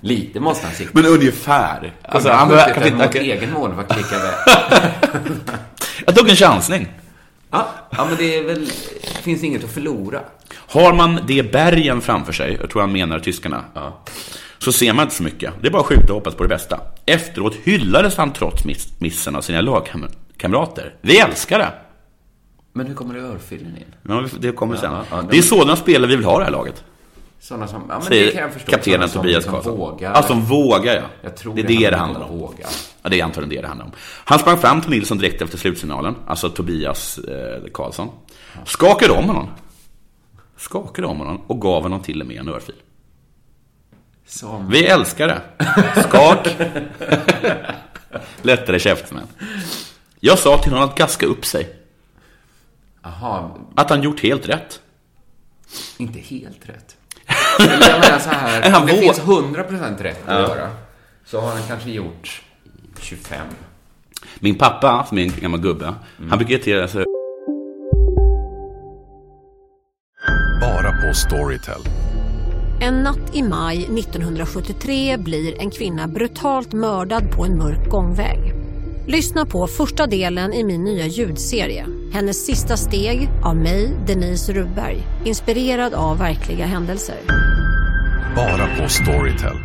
Speaker 8: Lite måste han sikta.
Speaker 9: men ungefär. Alltså, han
Speaker 8: han
Speaker 9: verkar
Speaker 8: skjutit den
Speaker 9: inte...
Speaker 8: mot
Speaker 9: okej.
Speaker 8: egen målvakt lika väl.
Speaker 9: Jag tog en chansning.
Speaker 8: Ja, ja, men det är väl... Finns inget att förlora.
Speaker 9: Har man de bergen framför sig, jag tror han menar tyskarna, så ser man inte så mycket. Det är bara att skjuta och hoppas på det bästa. Efteråt hyllades han trots miss- missen av sina lagkamrater. Vi älskar det!
Speaker 8: Men hur kommer det örfilen in?
Speaker 9: Ja, det kommer sen.
Speaker 8: Ja, ja,
Speaker 9: det är sådana spelare vi vill ha i det här laget.
Speaker 8: Sådana som, ja men det kan
Speaker 9: Säger
Speaker 8: jag förstå.
Speaker 9: kaptenen
Speaker 8: Sådana
Speaker 9: Tobias
Speaker 8: som,
Speaker 9: Karlsson.
Speaker 8: Som vågar.
Speaker 9: Ja, som vågar ja.
Speaker 8: Jag tror
Speaker 9: det är det det handlar
Speaker 8: om. att
Speaker 9: om.
Speaker 8: Våga.
Speaker 9: Ja, det är antagligen det det handlar om. Han sprang fram till Nilsson direkt efter slutsignalen, alltså Tobias eh, Karlsson. Skakade om honom. Skakade om honom och gav honom till och med en örfil.
Speaker 8: Som,
Speaker 9: Vi älskar det. Skak. Lättare käftsmäll. Jag sa till honom att gaska upp sig.
Speaker 8: aha,
Speaker 9: Att han gjort helt rätt.
Speaker 8: inte helt rätt. Eller jag menar så här,
Speaker 9: Han
Speaker 8: om det
Speaker 9: vå-
Speaker 8: finns 100% rätt att göra. Så har han kanske gjort 25.
Speaker 9: Min pappa, som är en gammal gubbe, han brukar irritera sig
Speaker 10: Bara på Storytel.
Speaker 11: En natt i maj 1973 blir en kvinna brutalt mördad på en mörk gångväg. Lyssna på första delen i min nya ljudserie. Hennes sista steg av mig, Denise Rubberg. Inspirerad av verkliga händelser.
Speaker 10: Bara på Storytel.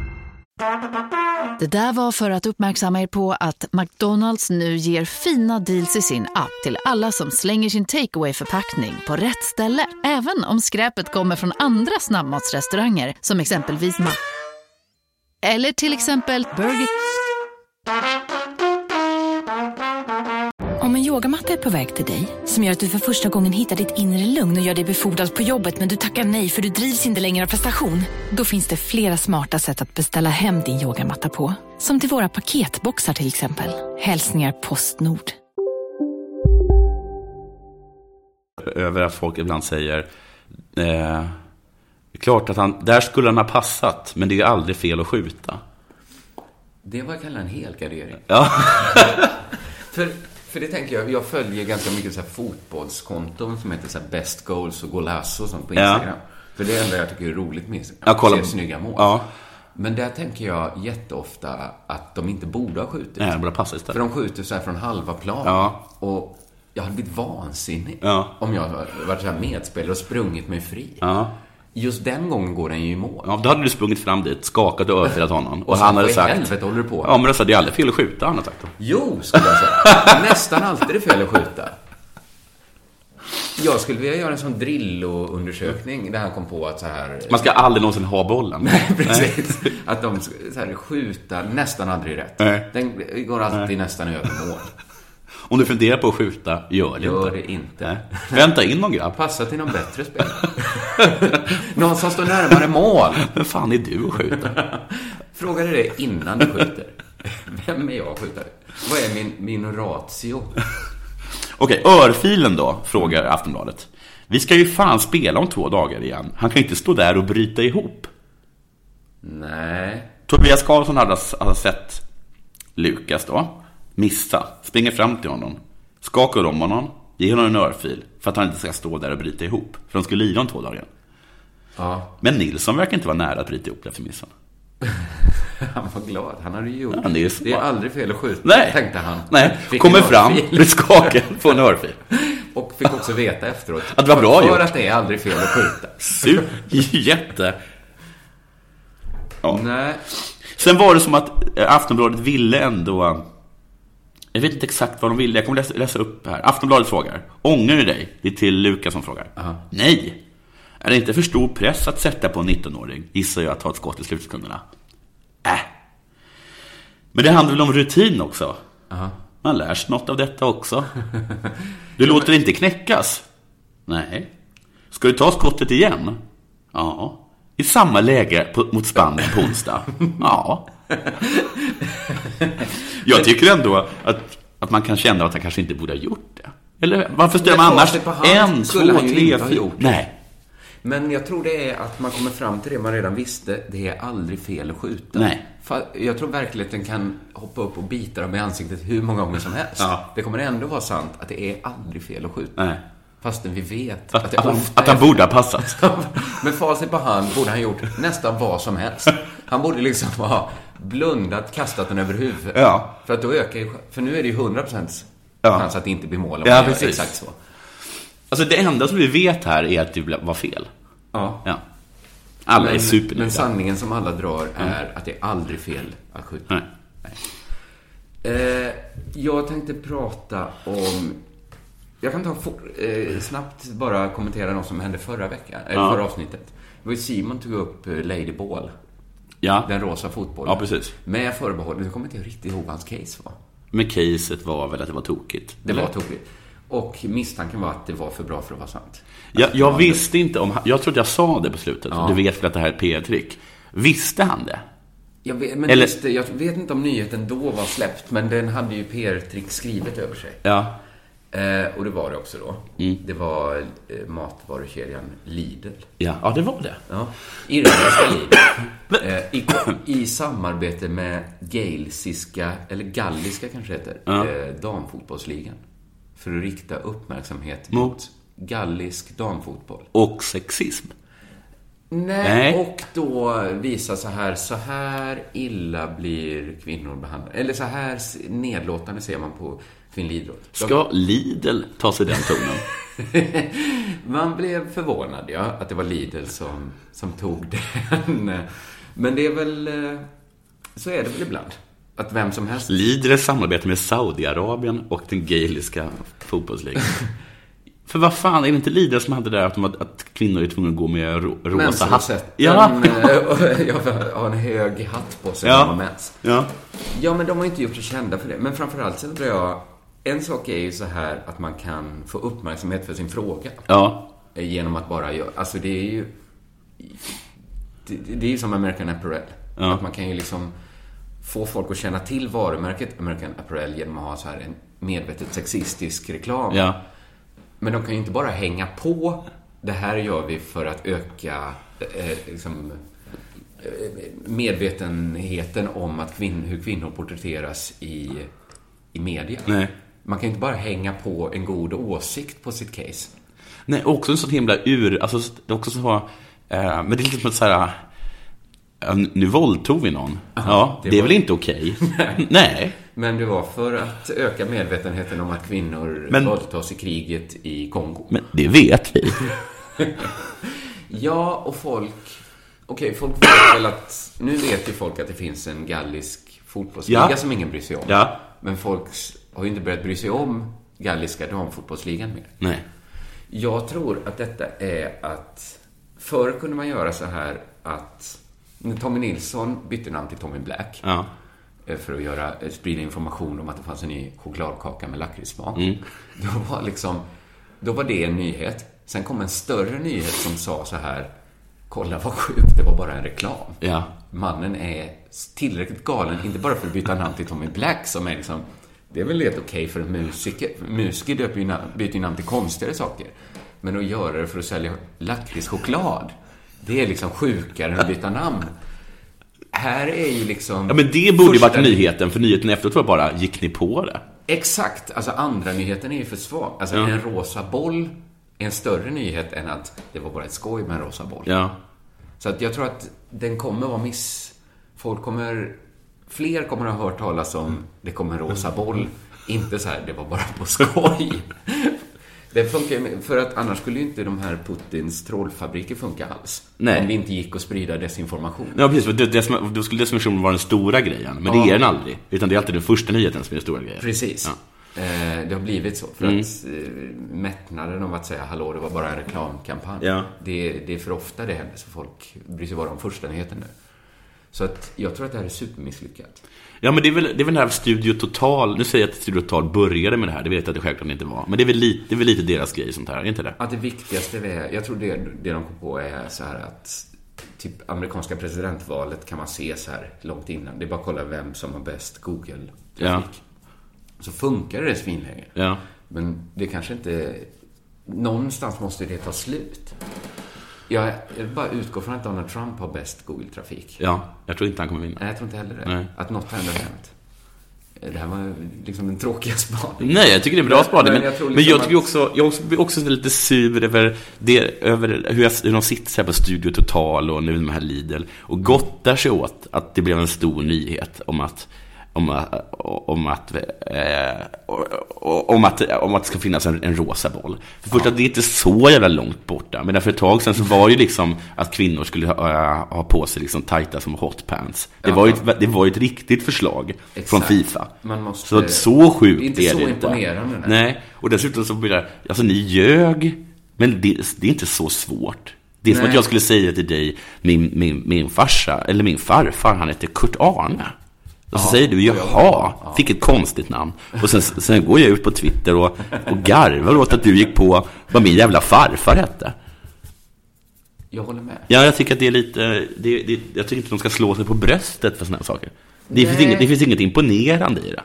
Speaker 12: Det där var för att uppmärksamma er på att McDonalds nu ger fina deals i sin app till alla som slänger sin takeaway förpackning på rätt ställe. Även om skräpet kommer från andra snabbmatsrestauranger som exempelvis Ma... Eller till exempel Burger...
Speaker 13: Om en yogamatta är på väg till dig, som gör att du för första gången hittar ditt inre lugn och gör dig befordrad på jobbet men du tackar nej för du drivs inte längre av prestation. Då finns det flera smarta sätt att beställa hem din yogamatta på. Som till våra paketboxar till exempel. Hälsningar Postnord.
Speaker 9: över att folk ibland säger eh, det är klart att han, där skulle han ha passat, men det är aldrig fel att skjuta.
Speaker 8: Det är vad jag kallar en helgardering.
Speaker 9: Ja.
Speaker 8: För, för för det tänker jag, jag följer ganska mycket så här fotbollskonton som heter så här best goals och golasso och sånt på
Speaker 9: Ja.
Speaker 8: Instagram. För det är det enda jag tycker är roligt med Instagram.
Speaker 9: Jag kollar-
Speaker 8: Se snygga mål. Men där tänker jag jätteofta att de inte borde ha skjutit.
Speaker 9: Nej, de borde ha passat istället.
Speaker 8: För de skjuter så här från halva plan. Och jag hade blivit vansinnig
Speaker 9: Ja.
Speaker 8: om jag hade varit så här medspelare och sprungit mig fri.
Speaker 9: Ja.
Speaker 8: Just den gången går den ju i mål.
Speaker 9: Ja, då hade du sprungit fram dit, skakat och övertalat honom.
Speaker 8: Och
Speaker 9: Och,
Speaker 8: så,
Speaker 9: han hade
Speaker 8: "Vad i
Speaker 9: sagt...
Speaker 8: helvete håller du på med?"
Speaker 9: Ja, men det sa, det är aldrig fel att skjuta, han har sagt. då.
Speaker 8: Jo, skulle jag säga. Nästan alltid är fel att skjuta. Jag skulle vilja göra en sån Drillo-undersökning där han kom på att så här...
Speaker 9: Man ska aldrig någonsin ha bollen.
Speaker 8: Nej, precis. Att de ska så här, skjuta nästan aldrig rätt.
Speaker 9: Nej.
Speaker 8: Den går alltid nästan över mål.
Speaker 9: Om du funderar på att skjuta, gör det
Speaker 8: Gör
Speaker 9: inte.
Speaker 8: det inte.
Speaker 9: Nej. Vänta in någon grabb.
Speaker 8: Passa till någon bättre spelare. någon som står närmare mål.
Speaker 9: Vem fan är du och skjuter?
Speaker 8: Fråga dig det innan du skjuter. Vem är jag att skjuta? Vad är min, min ratio?
Speaker 9: Okej, örfilen då, frågar Aftonbladet. Vi ska ju fan spela om två dagar igen. Han kan ju inte stå där och bryta ihop.
Speaker 8: Nej.
Speaker 9: Tobias Karlsson hade, alltså- hade sett Lukas då, missa, springer fram till honom, skakar om honom, ger honom en örfil för att han inte ska stå där och bryta ihop. För de skulle lira om två dagar.
Speaker 8: Ja,
Speaker 9: Men Nilsson verkar inte vara nära att bryta ihop efter missen.
Speaker 8: han var glad. Han hade ju gjort
Speaker 9: Ja, det är så.
Speaker 8: det är aldrig fel att skjuta,
Speaker 9: Nej.
Speaker 8: tänkte han.
Speaker 9: Nej,
Speaker 8: Fick
Speaker 9: kommer
Speaker 8: en
Speaker 9: fram,
Speaker 8: örfil.
Speaker 9: blir skakad, får en örfil.
Speaker 8: Och fick också veta efteråt.
Speaker 9: Att det var bra
Speaker 8: För
Speaker 9: gjort.
Speaker 8: att det är aldrig fel att skjuta.
Speaker 9: Super, jätte... Ja.
Speaker 8: Nej.
Speaker 9: Sen var det som att eh, Aftonbladet ville ändå... eh, Jag vet inte exakt vad de ville, jag kommer läsa, läsa upp här. Aftonbladet frågar. Ångrar du dig? Det är till Lukas som frågar. Nej! Är det inte för stor press att sätta på en 19-åring? Gissar jag att ta ett skott i slutsekunderna. Äh. Men det handlar väl om rutin också? Man lär sig något av detta också. Du låter inte knäckas? Nej. Ska du ta skottet igen? Ja. I samma läge på, mot Spanien på onsdag? Ja. Jag tycker ändå att, att man kan känna att han kanske inte borde ha gjort det. Eller varför ställer
Speaker 8: Men
Speaker 9: man annars
Speaker 8: facit på hand
Speaker 9: en,
Speaker 8: skulle
Speaker 9: två,
Speaker 8: han ju
Speaker 9: tre,
Speaker 8: inte ha
Speaker 9: fyra?
Speaker 8: gjort.
Speaker 9: Nej.
Speaker 8: Men jag tror det är att man kommer fram till det man redan visste. Det är aldrig fel att skjuta.
Speaker 9: Nej.
Speaker 8: Fa- Jag tror verkligheten kan hoppa upp och bita dem i ansiktet hur många gånger som helst.
Speaker 9: Ja.
Speaker 8: Det kommer ändå vara sant att det är aldrig fel att skjuta.
Speaker 9: Nej.
Speaker 8: Fastän vi vet
Speaker 9: Att,
Speaker 8: det
Speaker 9: att, han,
Speaker 8: ofta
Speaker 9: att han
Speaker 8: är-
Speaker 9: borde ha passat.
Speaker 8: Med facit på hand borde han gjort nästan vad som helst. Han borde liksom ha blundat, kastat den över huvudet.
Speaker 9: Ja.
Speaker 8: För att då ökar ju För nu är det ju 100%
Speaker 9: Ja.
Speaker 8: chans att det inte blir mål om
Speaker 9: Ja,
Speaker 8: man gör
Speaker 9: precis.
Speaker 8: exakt så.
Speaker 9: Alltså det enda som vi vet här är att det ble- var fel.
Speaker 8: Ja.
Speaker 9: ja. Alla är
Speaker 8: men,
Speaker 9: supernöjda. Mm.
Speaker 8: Men sanningen som alla drar är att det är aldrig fel att skjuta.
Speaker 9: Nej.
Speaker 8: Eh, jag tänkte prata om... Jag kan ta for, eh, snabbt bara kommentera något som hände förra veckan, eller
Speaker 9: Ja.
Speaker 8: förra avsnittet. Det var ju Simon tog upp eh, Lady Ball.
Speaker 9: Ja.
Speaker 8: Den rosa fotbollen.
Speaker 9: Ja, precis.
Speaker 8: Med förbehåll, nu kommer inte jag riktigt ihåg vad hans case var.
Speaker 9: Men caset var väl att det var tokigt?
Speaker 8: Det
Speaker 9: eller?
Speaker 8: var tokigt. Och misstanken var att det var för bra för att vara sant.
Speaker 9: Jag, jag visste inte om han- Jag trodde jag sa det på slutet. Du vet väl att det här är ett PR-trick. Visste han det?
Speaker 8: Jag vet, men
Speaker 9: Eller-
Speaker 8: just det, jag vet inte om nyheten då var släppt, men den hade ju PR-trick skrivet över sig.
Speaker 9: Ja.
Speaker 8: Eh, och det var det också då.
Speaker 9: Mm.
Speaker 8: Det var eh, matvarukedjan Lidl.
Speaker 9: Ja, ja det var det.
Speaker 8: Ja. Irländska Lidl. Eh, i, I samarbete med galsiska, eller galliska kanske det heter,
Speaker 9: Ja.
Speaker 8: eh, damfotbollsligan. För att rikta uppmärksamhet
Speaker 9: Mot?
Speaker 8: mot gallisk damfotboll.
Speaker 9: Och sexism.
Speaker 8: Nej,
Speaker 9: Nej.
Speaker 8: och då visa så här, så här illa blir kvinnor behandlade. Eller så här s- nedlåtande ser man på kvinnlig idrott. De-
Speaker 9: Ska Lidl ta sig den tonen?
Speaker 8: man blev förvånad, ja, att det var Lidl som, som tog den. Men det är väl, eh, så är det väl ibland. Att vem som helst.
Speaker 9: Lidl samarbetar med Saudiarabien och den gaeliska fotbollsligan. För vad fan, är det inte Lidl som hade det där att, de, hade- att kvinnor är tvungna att gå med ro, rosa hatt?
Speaker 8: Mensrosetten,
Speaker 9: Ja.
Speaker 8: eh, och jag har en hög hatt på sig när
Speaker 9: Ja.
Speaker 8: man har mens.
Speaker 9: Ja.
Speaker 8: ja, men de har inte gjort sig kända för det. Men framförallt så undrar jag, en sak är ju så här att man kan få uppmärksamhet för sin fråga.
Speaker 9: Ja.
Speaker 8: Eh, Genom att bara göra, alltså det är ju, det, det är ju som American Apparel.
Speaker 9: Ja.
Speaker 8: Att man kan ju liksom få folk att känna till varumärket American Apparel genom att ha så här en medvetet sexistisk reklam.
Speaker 9: Ja.
Speaker 8: Men de kan ju inte bara hänga på. Det här gör vi för att öka eh, liksom, eh, medvetenheten om att kvinn, hur kvinnor porträtteras i, i media.
Speaker 9: Nej.
Speaker 8: man kan ju inte bara hänga på en god åsikt på sitt case.
Speaker 9: Nej, också en sån himla ur... Alltså, det är också så... Eh, men det är lite som att så här... eh, Nu våldtog vi någon. ja, det,
Speaker 8: det
Speaker 9: är
Speaker 8: var-
Speaker 9: väl inte okej? Nej.
Speaker 8: Men det var för att öka medvetenheten om att kvinnor
Speaker 9: Men-
Speaker 8: våldtas i kriget i Kongo.
Speaker 9: Men det vet vi.
Speaker 8: ja, och folk... Okej, folk vet väl att... Nu vet ju folk att det finns en gallisk fotbollsliga
Speaker 9: Ja.
Speaker 8: som ingen bryr sig om.
Speaker 9: Ja.
Speaker 8: Men folk har ju inte börjat bry sig om galliska damfotbollsligan mer.
Speaker 9: Nej.
Speaker 8: Jag tror att detta är att... Förr kunde man göra så här att... När Tommy Nilsson bytte namn till Tommy Black.
Speaker 9: Ja.
Speaker 8: eh, För att göra, eh, sprida information om att det fanns en ny chokladkaka med lakritssmak.
Speaker 9: Mm.
Speaker 8: Då var liksom... Då var det en nyhet. Sen kom en större nyhet som sa så här... Kolla vad sjukt, det var bara en reklam.
Speaker 9: Ja.
Speaker 8: Mannen är tillräckligt galen, inte bara för att byta namn till Tommy Black som är liksom... Det är väl helt okej för en musiker. Musiker döper ju namn, byter ju namn till konstigare saker. Men att göra det för att sälja lakritschoklad, det är liksom sjukare än att byta namn. Här är ju liksom...
Speaker 9: Ja, men det borde ju
Speaker 8: första-
Speaker 9: varit nyheten, för nyheten efteråt var bara, gick ni på det?
Speaker 8: Exakt, alltså andra nyheten är ju för svag. Alltså
Speaker 9: Ja.
Speaker 8: en rosa boll är en större nyhet än att det var bara ett skoj med en rosa boll.
Speaker 9: Ja.
Speaker 8: Så att jag tror att den kommer vara miss... Folk kommer... Fler kommer ha hört talas om det kommer en rosa boll. Inte så här, det var bara på skoj. Det funkar ju med- för att annars skulle ju inte de här Putins trollfabriker funka alls.
Speaker 9: Nej.
Speaker 8: Om det inte gick att sprida desinformation.
Speaker 9: Ja, precis. för Det, det, som- då skulle definitionen vara den stora grejen, men
Speaker 8: Ja.
Speaker 9: det är den aldrig. Utan det är alltid den första nyheten som är den stora grejen.
Speaker 8: Precis.
Speaker 9: Ja.
Speaker 8: Eh, Det har blivit så. För
Speaker 9: Mm.
Speaker 8: att eh, mättnaden om att säga hallå, det var bara en reklamkampanj.
Speaker 9: Ja.
Speaker 8: Det, det är för ofta det händer, så folk bryr sig bara om första nyheten nu. Så att jag tror att det här är supermisslyckat.
Speaker 9: Ja, men det är väl, det är väl den här Studio Total, nu säger jag att Studio Total började med det här, det vet jag att det självklart inte var. Men det är väl lite, det är väl lite deras grej sånt här, är inte det?
Speaker 8: Att det viktigaste är, jag tror det, det de kom på är så här att typ amerikanska presidentvalet kan man se så här långt innan. Det är bara att kolla vem som har bäst Google-trafik.
Speaker 9: Ja.
Speaker 8: Så funkar det svinlänge.
Speaker 9: Ja.
Speaker 8: Men det kanske inte... Någonstans måste det ta slut. Jag, jag bara utgår från att Donald Trump har bäst Google-trafik.
Speaker 9: Ja, jag tror inte han kommer vinna.
Speaker 8: Nej, jag tror inte heller det.
Speaker 9: Nej.
Speaker 8: Att något ändå har hänt. Det här var ju liksom den tråkiga spaningen.
Speaker 9: Nej, jag tycker det är en bra spaning. Men, men jag,
Speaker 8: tror
Speaker 9: men
Speaker 8: liksom
Speaker 9: jag tycker
Speaker 8: att-
Speaker 9: också, jag också, blir också lite sur över, det, över hur, jag, hur de sitter så här på Studio Total och nu med här Lidl och gottar sig åt att det blev en stor nyhet om att om, att- om, att, eh, om, att, om att det ska finnas en, en rosa boll. För först att det är inte så jävla långt borta. Men för ett tag sedan så var ju liksom att kvinnor skulle ha, eh, ha på sig liksom tajta som hotpants. Det,
Speaker 8: Ja.
Speaker 9: var ju ett, det var ju ett riktigt förslag från
Speaker 8: Exakt.
Speaker 9: Fifa.
Speaker 8: Man måste-
Speaker 9: så, så sjukt
Speaker 8: Det är inte
Speaker 9: är
Speaker 8: så
Speaker 9: det inte.
Speaker 8: imponerande, nej.
Speaker 9: Nej. Nej, och dessutom så blir det, alltså ni ljög, men det, det är inte så svårt. Det är som
Speaker 8: Nej.
Speaker 9: att jag skulle säga till dig, min, min, min farsa, eller min farfar, han heter Kurt Arne. Och så
Speaker 8: Ja,
Speaker 9: säger du,
Speaker 8: jag-
Speaker 9: jaha, fick ett konstigt namn. Och sen, sen går jag ut på Twitter och, och garvar åt att du gick på vad min jävla farfar hette.
Speaker 8: Jag håller med.
Speaker 9: Ja, jag tycker att det är lite, det, det, jag tycker inte de ska slå sig på bröstet för sådana här saker. Det finns,
Speaker 8: Nej.
Speaker 9: inget, det finns inget imponerande i det.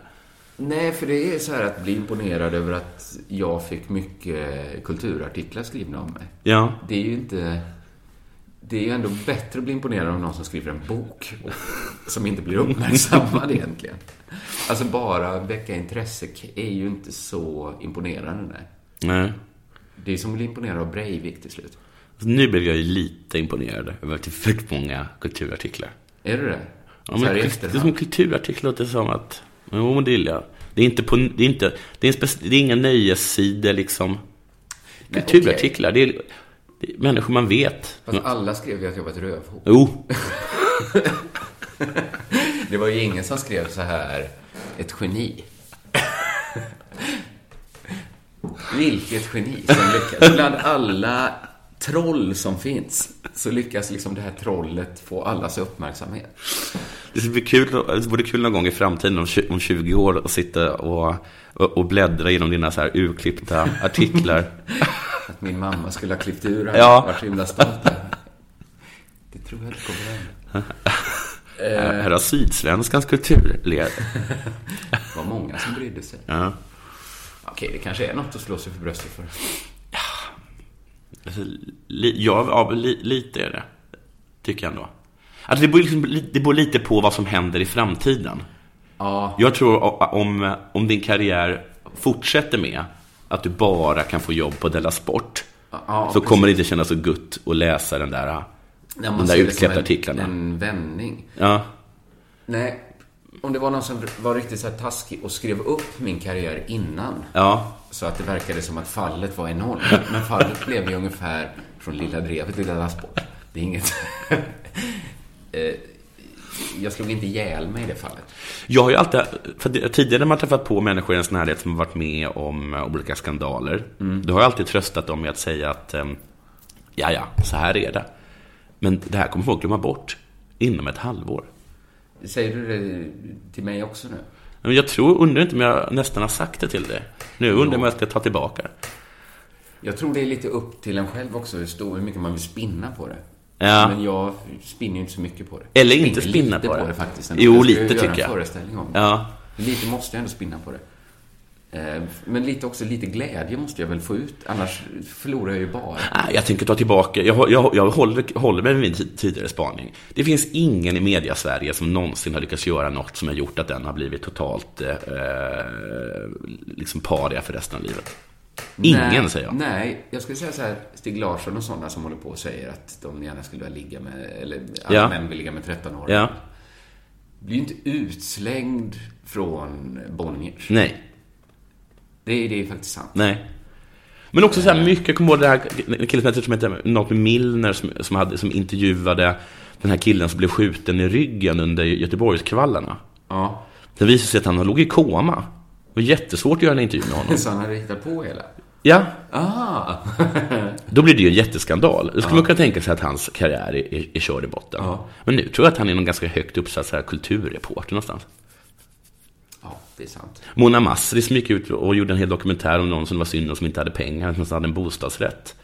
Speaker 8: Nej, för det är så här att bli imponerad över att jag fick mycket kulturartiklar skrivna om mig.
Speaker 9: Ja.
Speaker 8: Det är ju inte... Det är ju ändå bättre att bli imponerad av någon som skriver en bok och- som inte blir uppmärksammad egentligen. Alltså bara väcka intresse är ju inte så imponerande. Nej.
Speaker 9: Nej.
Speaker 8: Det är som att bli imponerad av Breivik till slut.
Speaker 9: Så Alltså, nu blev jag ju lite imponerad över att det är för många kulturartiklar.
Speaker 8: Är du det?
Speaker 9: Ja,
Speaker 8: Så
Speaker 9: men kul-
Speaker 8: här i
Speaker 9: det är
Speaker 8: efterhand.
Speaker 9: som kulturartiklar låter som att... Jo, men det gillar jag. Det är inte på... Det är, inte, det är, en spec, det är inga nöjessidor liksom.
Speaker 8: Nej,
Speaker 9: Kulturartiklar, det, är, det är människor man vet.
Speaker 8: Fast alla skrev ju att jag var ett rövhål.
Speaker 9: Jo.
Speaker 8: det var ju ingen som skrev så här, ett geni. Vilket geni som lyckas. Bland alla troll som finns så lyckas liksom det här trollet få allas uppmärksamhet.
Speaker 9: Det skulle bli kul, det vore kul någon gång i framtiden om tju- om 20 år att sitta och, och, och bläddra genom dina så här urklippta artiklar.
Speaker 8: Att min mamma skulle ha klippt ur här.
Speaker 9: Ja.
Speaker 8: Vart så himla stolt. över. Det tror jag inte kommer hända.
Speaker 9: Här här har Sydsvenskans kulturled.
Speaker 8: Det var många som brydde sig.
Speaker 9: Ja.
Speaker 8: Okej, det kanske är något att slå sig för bröstet för.
Speaker 9: Alltså, li, ja, ja, li, lite är det. Tycker jag ändå. Alltså, det, beror liksom, li- det beror lite på vad som händer i framtiden.
Speaker 8: Ja.
Speaker 9: Jag tror o- om, om din karriär fortsätter med att du bara kan få jobb på Della Sport, så kommer det inte kännas så gött att läsa den där, de
Speaker 8: man
Speaker 9: där
Speaker 8: ser det som
Speaker 9: utklippta
Speaker 8: en-
Speaker 9: artiklarna.
Speaker 8: En vändning.
Speaker 9: Ja.
Speaker 8: Nej, om det var någon som var riktigt så här taskig och skrev upp min karriär innan.
Speaker 9: Ja.
Speaker 8: Så att det verkade som att fallet var enormt. Men fallet blev ju ungefär från Lilla Drevet till Lilla Sport. Det är inget... Eh, Jag slog inte ihjäl mig i det fallet.
Speaker 9: Jag har ju alltid, för det- tidigare när man träffat på människor i ens närhet som har varit med om eh, olika skandaler,
Speaker 8: Mm.
Speaker 9: då har jag alltid tröstat dem med att säga att ehm, ja, ja, så här är det. Men det här kommer folk glömma bort inom ett halvår.
Speaker 8: Säger du det till mig också nu?
Speaker 9: Men jag tror, undrar inte om jag nästan har sagt det till dig. Nu undrar jag om jag ska ta tillbaka det.
Speaker 8: Jag tror det är lite upp till en själv också hur, stor, hur mycket man vill spinna på det.
Speaker 9: Ja.
Speaker 8: Men jag spinner ju inte så mycket på det.
Speaker 9: Eller
Speaker 8: Jag
Speaker 9: inte
Speaker 8: spinner
Speaker 9: spinna
Speaker 8: lite
Speaker 9: på det.
Speaker 8: faktiskt.
Speaker 9: Jo,
Speaker 8: ska ju
Speaker 9: lite
Speaker 8: göra
Speaker 9: tycker
Speaker 8: en
Speaker 9: jag.
Speaker 8: föreställning om
Speaker 9: Ja.
Speaker 8: det. Lite måste jag ändå spinna på det. Eh, Men lite också, lite glädje måste jag väl få ut. Annars förlorar jag ju bara.
Speaker 9: Nej, jag tänker ta tillbaka. Jag, jag, jag håller, håller mig med min ti- tidigare spaning. Det finns ingen i media-Sverige som någonsin har lyckats göra något som har gjort att den har blivit totalt eh, eh, liksom paria för resten av livet. Ingen,
Speaker 8: nej,
Speaker 9: säger jag.
Speaker 8: Nej, jag skulle säga så här. Stig Larsson och sådana som håller på och säger att de gärna skulle vilja ligga med, eller alla
Speaker 9: Ja.
Speaker 8: män vill ligga med 13-åringar.
Speaker 9: Ja.
Speaker 8: Blir ju inte utslängd från Bonniers.
Speaker 9: Nej.
Speaker 8: Det, är- det är faktiskt sant.
Speaker 9: Mm. Nej. Men också så här mycket, jag kommer ihåg det här en kille som heter- som heter något med Milner som, som, hade, som intervjuade den här killen som blev skjuten i ryggen under Göteborgskravallerna.
Speaker 8: Ja.
Speaker 9: Det visade sig att han låg i koma. Det var jättesvårt att göra en intervju med honom.
Speaker 8: Så han hade hittat på hela?
Speaker 9: Ja.
Speaker 8: Ah!
Speaker 9: Då blir det ju en jätteskandal. Då skulle man kunna tänka sig att hans karriär är, är, är körd i botten. Men nu tror jag att han är någon ganska högt uppsatt så här kulturreporter någonstans.
Speaker 8: Ja, det är sant.
Speaker 9: Mona Masri som gick ut och gjorde en hel dokumentär om någon som det var synd om som inte hade pengar, som hade en bostadsrätt.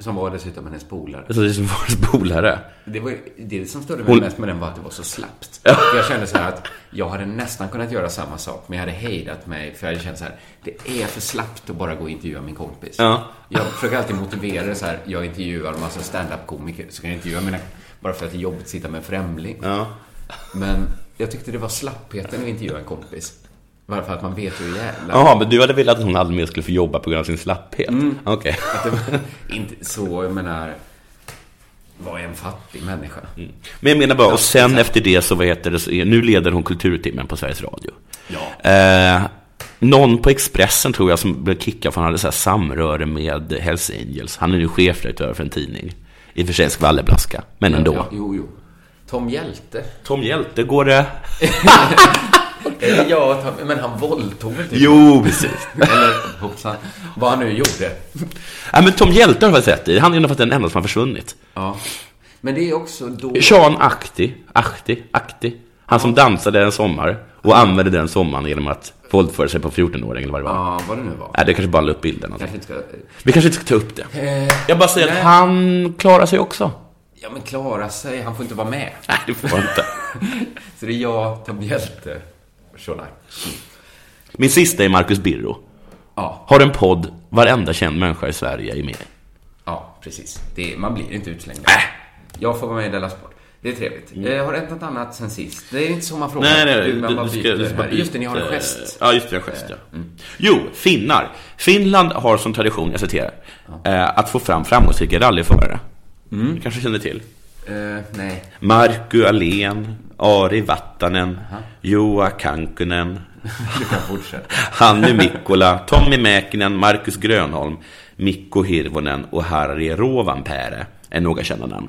Speaker 8: Som var dessutom hennes polare.
Speaker 9: Alltså det är som var polare.
Speaker 8: Det, var, det som störde mig
Speaker 9: Hon-
Speaker 8: mest med den var att det var så slappt. Jag kände så här att jag hade nästan kunnat göra samma sak, men jag hade hejdat mig för jag hade känt så här, det är för slappt att bara gå och intervjua min kompis.
Speaker 9: Ja.
Speaker 8: Jag försöker alltid motivera det så här, jag intervjuar en massa standup-komiker, så kan jag intervjua mina, bara för att det är jobbigt att sitta med en främling. Men jag tyckte det var slappheten att intervjua en kompis. Bara för att man vet hur jävla...
Speaker 9: Jaha, men du hade velat att hon aldrig mer skulle få jobba på grund av sin slapphet?
Speaker 8: Mm.
Speaker 9: Okej.
Speaker 8: Att det var inte så, jag menar, var en fattig människa.
Speaker 9: Men jag menar bara, och sen efter det så, vad heter det, så är- nu leder hon Kulturtimmen på Sveriges Radio.
Speaker 8: Ja.
Speaker 9: Eh, någon på Expressen tror jag som blev kickad för han hade så här samröre med Hells Angels. Han är nu chefredaktör för en tidning. I och för sig en skvallerblaska, men ändå.
Speaker 8: Ja, jo, jo. Tom Hjälte.
Speaker 9: Tom Hjälte, går det?
Speaker 8: Eh, ja, Tom, men han våldtog väl typ?
Speaker 9: Jo, precis.
Speaker 8: Eller hoppsan, vad han nu gjorde.
Speaker 9: Ja, men Tom Hjälte har jag sett i. Han är nog faktiskt den enda som har försvunnit.
Speaker 8: Ja. Men det är också då...
Speaker 9: Sean Akti, Akti, Akti. Han som dansade en sommar och använde den sommaren genom att våldföra sig på 14-åring eller vad det var.
Speaker 8: Ja, vad det nu var.
Speaker 9: Nej, det kanske bara la upp bilden. Alltså.
Speaker 8: Kanske inte ska...
Speaker 9: Vi kanske inte ska ta upp det.
Speaker 8: Eh,
Speaker 9: Jag bara säger
Speaker 8: nej.
Speaker 9: att han klarar sig också.
Speaker 8: Ja, men klara sig. Han får inte vara med.
Speaker 9: Nej, det får han inte.
Speaker 8: Så det är jag, Tom Hjälte, och Sean Akti.
Speaker 9: Min sista är Marcus Birro.
Speaker 8: Ja.
Speaker 9: Har en podd varenda känd människa i Sverige är med i.
Speaker 8: Ja, precis. Det, man blir inte utslängd. Jag får vara med i Della Sport. Det är trevligt. Eh, har det hänt något annat sen sist? Det är inte så man frågar.
Speaker 9: Mm. Nej, nej,
Speaker 8: Du, man
Speaker 9: du-
Speaker 8: bara
Speaker 9: du ska-
Speaker 8: byter
Speaker 9: du ska
Speaker 8: här.
Speaker 9: bara
Speaker 8: Just det, ni har en
Speaker 9: byta-
Speaker 8: gest.
Speaker 9: Ja, just det, en gest, ja. Mm. Jo, finnar. Finland har som tradition, jag citerar, eh, att få fram framgångsrika rallyförare.
Speaker 8: Mm.
Speaker 9: Du kanske känner till?
Speaker 8: Eh, nej.
Speaker 9: Markku Alén, Ari Vattanen, Juha Kankkunen,
Speaker 8: Du kan fortsätta.
Speaker 9: Hannu Mikkola, Tommi Mäkinen, Marcus Grönholm, Mikko Hirvonen och Harri Rovanperä är några kända namn.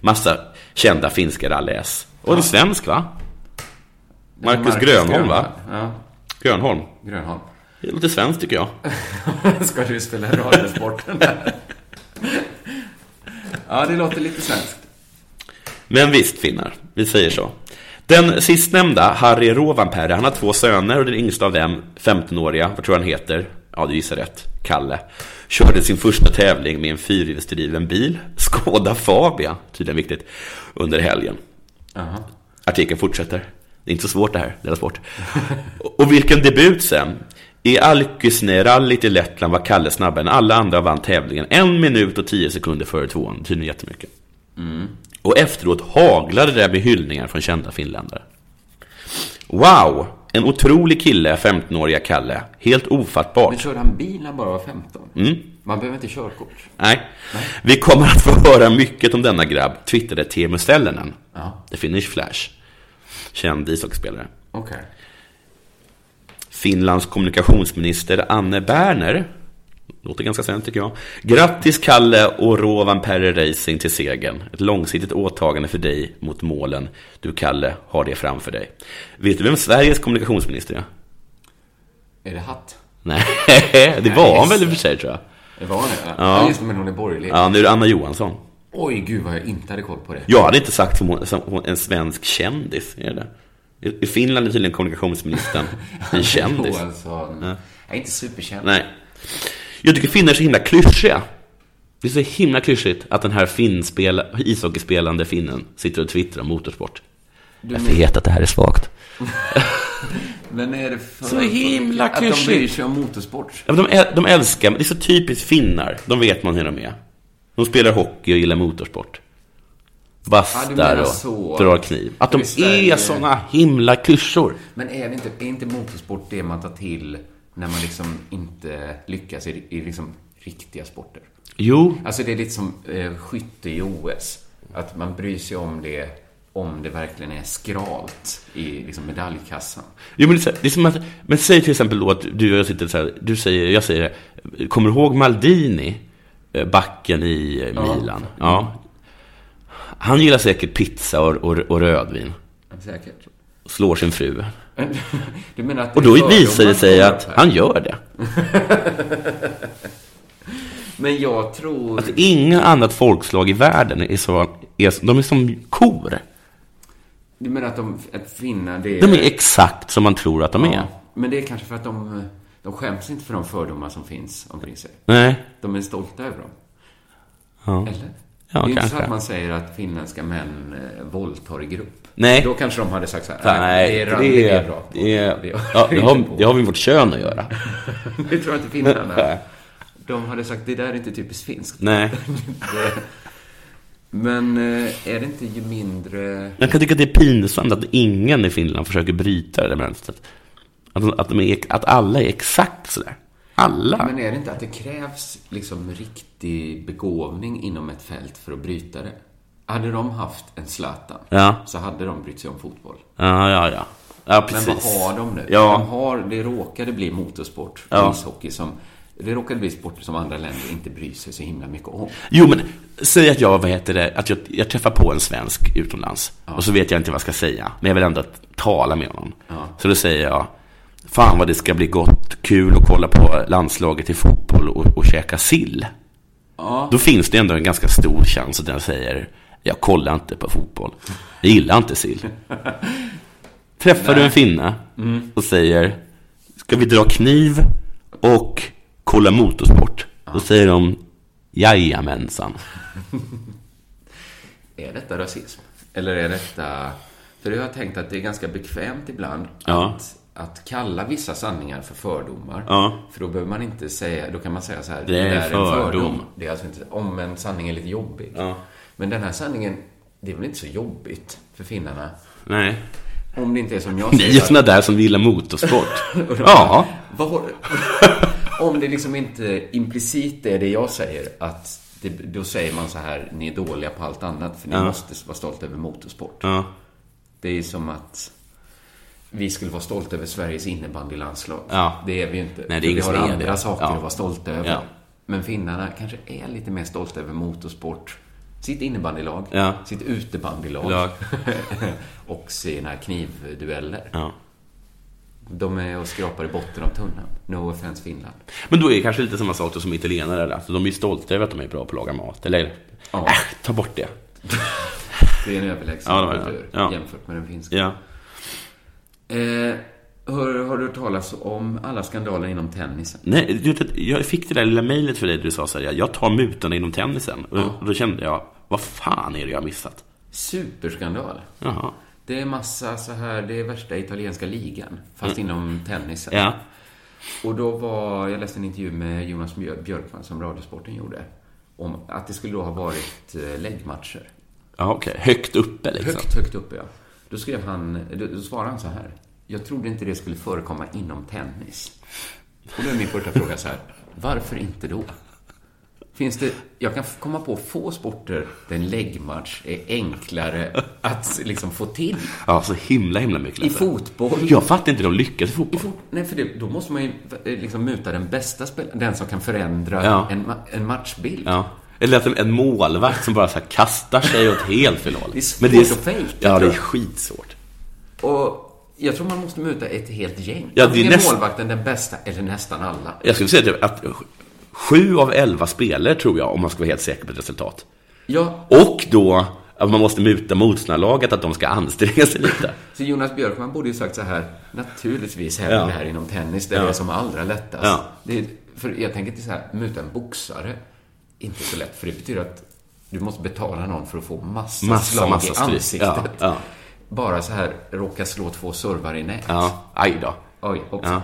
Speaker 9: Massa kända finska rallyes. Och en svensk va? Marcus,
Speaker 8: Marcus
Speaker 9: Grönholm va?
Speaker 8: Ja.
Speaker 9: Grönholm.
Speaker 8: Grönholm.
Speaker 9: Det låter svenskt tycker jag.
Speaker 8: Ska du spela radiosporten där? ja, det låter lite svenskt.
Speaker 9: Men visst finnar, vi säger så. Den sistnämnda, Harri Rovanperä, han har två söner och den yngsta av dem, 15-åriga, vad tror jag han heter? Ja, du gissar rätt. Kalle. Körde sin första tävling med en fyrhjulsdriven bil, Skoda Fabia, tydligen viktigt, under helgen.
Speaker 8: Jaha.
Speaker 9: Artikeln fortsätter. Det är inte så svårt det här, det är svårt. Och vilken debut sen! I Alkysne-rallyt i Lettland var Kalle snabbare än alla andra och vann tävlingen en minut och tio sekunder före tvåan. Det Tydligen jättemycket. Och efteråt haglade det med hyllningar från kända finländare. Wow! En otrolig kille, 15-åriga Kalle. Helt ofattbart.
Speaker 8: Men körde han bil när han bara var 15?
Speaker 9: Mm.
Speaker 8: Man behöver inte körkort.
Speaker 9: Nej. Vi kommer att få höra mycket om denna grabb, twittrade Teemu Stellinen.
Speaker 8: Ja.
Speaker 9: The Finnish Flash. Känd ishockeyspelare.
Speaker 8: Okej.
Speaker 9: Finlands kommunikationsminister Anne Berner. Låter ganska svenskt tycker jag. Grattis Kalle och Rovanperä Racing till segern. Ett långsiktigt åtagande för dig mot målen. Du Kalle har det framför dig. Vet du vem Sveriges kommunikationsminister är?
Speaker 8: Är det hatt?
Speaker 9: Nej, det var han väl i och för sig tror jag.
Speaker 8: Det var han det?
Speaker 9: Ja.
Speaker 8: Ja. Just det, men hon är borgerlig.
Speaker 9: Ja, nu är det Anna Johansson.
Speaker 8: Oj, gud vad jag inte hade koll på det.
Speaker 9: Jag hade inte sagt som, hon, som hon, en svensk kändis. Är det? I- I Finland är tydligen kommunikationsministern en kändis.
Speaker 8: Johansson.
Speaker 9: Ja.
Speaker 8: Alltså, Jag är inte superkänd.
Speaker 9: Nej. Jag tycker finnar är så himla klyschiga. Det är så himla klyschigt att den här finspel, ishockeyspelande finnen sitter och twittrar om motorsport.
Speaker 8: Du
Speaker 9: jag
Speaker 8: men-
Speaker 9: vet att det här är svagt.
Speaker 8: Men är det för
Speaker 9: Så himla
Speaker 8: att de bryr
Speaker 9: klyschigt.
Speaker 8: sig om motorsport?
Speaker 9: Ja, men de, äl- de älskar, det är så typiskt finnar. De vet man hur de är. De spelar hockey och gillar motorsport. Bastar
Speaker 8: menar
Speaker 9: och
Speaker 8: så.
Speaker 9: drar kniv. Att
Speaker 8: Men
Speaker 9: de
Speaker 8: i Sverige-
Speaker 9: är såna himla klyschor.
Speaker 8: Men är, det inte, är inte motorsport det man tar till när man liksom inte lyckas i, i liksom riktiga sporter?
Speaker 9: Jo.
Speaker 8: Alltså det är lite som eh, skytte i OS. Att man bryr sig om det om det verkligen är skralt i liksom medaljkassan.
Speaker 9: Jo, men, det är så här, det är som att, men säg till exempel då att du och jag sitter så här, du säger, jag säger, kommer du ihåg Maldini? Eh, Backen i eh,
Speaker 8: Ja.
Speaker 9: Milan. Ja. Han gillar säkert pizza och, och, och rödvin.
Speaker 8: Säkert.
Speaker 9: Slår sin fru.
Speaker 8: Du menar att
Speaker 9: Och
Speaker 8: det är
Speaker 9: då visar det
Speaker 8: fördomar
Speaker 9: sig
Speaker 8: som
Speaker 9: att
Speaker 8: kommer upp här?
Speaker 9: han gör det.
Speaker 8: Men jag tror...
Speaker 9: Att inga annat folkslag i världen är så, är, så- de är som kor.
Speaker 8: Du menar att, de, att finna det...
Speaker 9: De är exakt som man tror att de är.
Speaker 8: Ja, men det är kanske för att de, de skäms inte för de fördomar som finns omkring sig.
Speaker 9: Nej.
Speaker 8: De är stolta över dem.
Speaker 9: Ja.
Speaker 8: Eller?
Speaker 9: Ja,
Speaker 8: det är inte så
Speaker 9: kanske.
Speaker 8: att man säger att finländska män eh, våldtar i grupp.
Speaker 9: Nej.
Speaker 8: Då kanske de hade sagt så här.
Speaker 9: Nej,
Speaker 8: det är
Speaker 9: det,
Speaker 8: randigt, det är
Speaker 9: är,
Speaker 8: bra.
Speaker 9: det, är,
Speaker 8: gör
Speaker 9: ja,
Speaker 8: vi
Speaker 9: det, har,
Speaker 8: inte på.
Speaker 9: det har med vårt kön att göra.
Speaker 8: Det tror jag inte finnarna.
Speaker 9: Nej.
Speaker 8: De hade sagt, det där är inte typiskt finskt.
Speaker 9: Nej.
Speaker 8: Det- men eh, är det inte ju mindre...
Speaker 9: Jag kan tycka att det är pinsamt att ingen i Finland försöker bryta det där mönstret. Att, att, de är, att alla är exakt sådär. Alla.
Speaker 8: Men är det inte att det krävs liksom riktig begåvning inom ett fält för att bryta det? Hade de haft en Zlatan
Speaker 9: Ja.
Speaker 8: så hade de brytt sig om fotboll.
Speaker 9: Ja, ja, ja. Ja, precis.
Speaker 8: Men vad har de nu? De
Speaker 9: Ja.
Speaker 8: har, det råkade bli motorsport och
Speaker 9: Ja.
Speaker 8: ishockey som... Det råkade bli sporter som andra länder inte bryr sig så himla mycket om.
Speaker 9: Jo, men säg att jag, vad heter det, att jag, jag träffar på en svensk utomlands. Och så vet jag inte vad jag ska säga. Men jag vill ändå tala med honom.
Speaker 8: Ja.
Speaker 9: Så då säger jag, fan vad det ska bli gott, kul att kolla på landslaget i fotboll och, och käka sill.
Speaker 8: Ja.
Speaker 9: Då finns det ändå en ganska stor chans att den säger, jag kollar inte på fotboll. Jag gillar inte sill. Träffar du en finne
Speaker 8: Mm.
Speaker 9: och säger Ska vi dra kniv och kolla motorsport? Då säger de Jajamensan.
Speaker 8: Är detta rasism? Eller är detta... För jag har tänkt att det är ganska bekvämt ibland
Speaker 9: Ja.
Speaker 8: att, att kalla vissa sanningar för fördomar.
Speaker 9: Ja.
Speaker 8: För då behöver man inte säga... Då kan man säga så här.
Speaker 9: Det är
Speaker 8: där
Speaker 9: en fördom.
Speaker 8: Det är alltså inte... Om en sanning är lite jobbig. Men den här sanningen, det är väl inte så jobbigt för finnarna?
Speaker 9: Nej.
Speaker 8: Om det inte är som jag
Speaker 9: Ni är
Speaker 8: säger.
Speaker 9: såna där som gillar motorsport.
Speaker 8: Och då-
Speaker 9: ja.
Speaker 8: Vad har, om det liksom inte implicit är det jag säger, att det, då säger man så här, ni är dåliga på allt annat, för ni
Speaker 9: Ja.
Speaker 8: måste vara stolta över motorsport.
Speaker 9: Ja.
Speaker 8: Det är som att vi skulle vara stolta över Sveriges innebandylandslag.
Speaker 9: Ja.
Speaker 8: Det är vi ju inte.
Speaker 9: Nej, det är
Speaker 8: För
Speaker 9: ingen
Speaker 8: vi har
Speaker 9: som är
Speaker 8: andra
Speaker 9: det.
Speaker 8: saker
Speaker 9: Ja.
Speaker 8: att vara stolta över.
Speaker 9: Ja.
Speaker 8: Men finnarna kanske är lite mer stolta över motorsport. Sitt innebandylag,
Speaker 9: Ja.
Speaker 8: sitt utebandylag
Speaker 9: Lag.
Speaker 8: och sina knivdueller.
Speaker 9: Ja.
Speaker 8: De är och skrapar i botten av tunnan. No offense Finland.
Speaker 9: Men då är det kanske lite samma sak då som italienare. Där. Så de är ju stolta över att de är bra på att laga mat. Eller?
Speaker 8: Ja.
Speaker 9: Äh, ta bort det.
Speaker 8: Det är en överlägsen
Speaker 9: Ja, det var det.
Speaker 8: kultur
Speaker 9: Ja.
Speaker 8: jämfört med den finska.
Speaker 9: Ja.
Speaker 8: Eh, hör, har du hört talas om alla skandaler inom tennisen?
Speaker 9: Nej, du vet att jag fick det där lilla mejlet för dig där du sa så här, jag tar mutorna inom tennisen. Och och då kände jag, vad fan är det jag har missat?
Speaker 8: Superskandal.
Speaker 9: Jaha.
Speaker 8: Det är massa så här, det är värsta italienska ligan, fast
Speaker 9: Mm.
Speaker 8: inom tennisen.
Speaker 9: Ja.
Speaker 8: Och då var, jag läste en intervju med Jonas Mjö- Björkman som Radiosporten gjorde. Om att det skulle då ha varit eh, läggmatcher.
Speaker 9: Ja, okej. Högt uppe liksom.
Speaker 8: Högt, högt uppe ja. Då skrev han, då, då svarade han så här. jag trodde inte det skulle förekomma inom tennis. Och då är min första fråga så här, varför inte då? Finns det, jag kan komma på få sporter där en läggmatch är enklare att liksom få till.
Speaker 9: Ja, så himla, himla mycket
Speaker 8: I fotboll.
Speaker 9: Jag fattar inte hur de lyckas i fotboll.
Speaker 8: Nej, för det, då måste man ju eh, liksom muta den bästa spelaren, den som kan förändra
Speaker 9: Ja.
Speaker 8: en, ma- en matchbild.
Speaker 9: Ja. Eller att en- en målvakt som bara så här kastar sig åt helt fel håll.
Speaker 8: Det är svårt
Speaker 9: Men
Speaker 8: att fejka,
Speaker 9: Ja, det
Speaker 8: tror
Speaker 9: är
Speaker 8: jag.
Speaker 9: skitsvårt.
Speaker 8: Och jag tror man måste muta ett helt gäng.
Speaker 9: Ja, det är
Speaker 8: Antingen
Speaker 9: näst-
Speaker 8: målvakten den bästa eller nästan alla.
Speaker 9: Jag skulle säga typ att sju av elva spelare tror jag, om man ska vara helt säker på ett resultat.
Speaker 8: Ja,
Speaker 9: Och då att man måste muta motståndarlaget att de ska anstränga sig lite.
Speaker 8: så Jonas Björkman borde ju sagt så här, naturligtvis händer
Speaker 9: Ja.
Speaker 8: det här inom tennis, där
Speaker 9: Ja.
Speaker 8: det är som allra lättast.
Speaker 9: Ja.
Speaker 8: Det är, för jag tänker inte så här, muta en boxare, inte så lätt, för det betyder att du måste betala någon för att få massa,
Speaker 9: Massa,
Speaker 8: slag
Speaker 9: massa
Speaker 8: i
Speaker 9: stryk.
Speaker 8: ansiktet.
Speaker 9: Ja, ja.
Speaker 8: Bara så här, råka slå två servar i nät.
Speaker 9: Ja, aj då.
Speaker 8: Oj, hoppsan.
Speaker 9: Ja.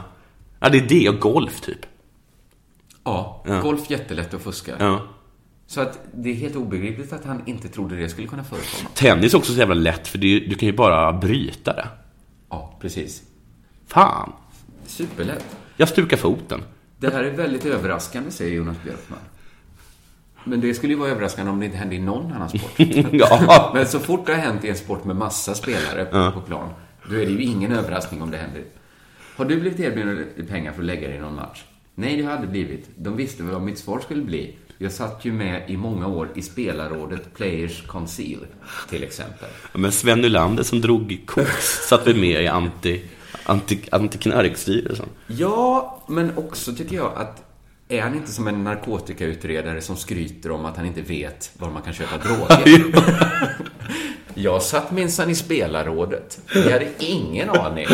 Speaker 9: ja, det är det och golf typ.
Speaker 8: Ja,
Speaker 9: Ja.
Speaker 8: golf jättelätt att fuska.
Speaker 9: Ja.
Speaker 8: Så att det är helt obegripligt att han inte trodde det skulle kunna förekomma.
Speaker 9: Tennis är också så jävla lätt, för det är, ju- du kan ju bara bryta det.
Speaker 8: Ja, precis.
Speaker 9: Fan,
Speaker 8: Superlätt.
Speaker 9: jag stukar foten.
Speaker 8: Det här är väldigt överraskande, säger Jonas Björkman. Men det skulle ju vara överraskande om det inte hände i någon annan sport.
Speaker 9: Ja.
Speaker 8: Men så fort det har hänt i en sport med massa spelare på-
Speaker 9: Ja.
Speaker 8: på plan, då är det ju ingen överraskning om det händer. Har du blivit erbjuden pengar för att lägga dig i någon match? Nej, det har jag aldrig blivit. De visste väl vad mitt svar skulle bli. Jag satt ju med i många år i spelarrådet Players Conceal, till exempel.
Speaker 9: Ja, Men Sven Nylander som drog koks satt väl med i anti, anti, liksom. antiknarkstyrelsen.
Speaker 8: Ja, men också tycker jag att är han inte som en narkotikautredare som skryter om att han inte vet var man kan köpa droger? jag satt minsann i spelarrådet. Jag hade ingen aning.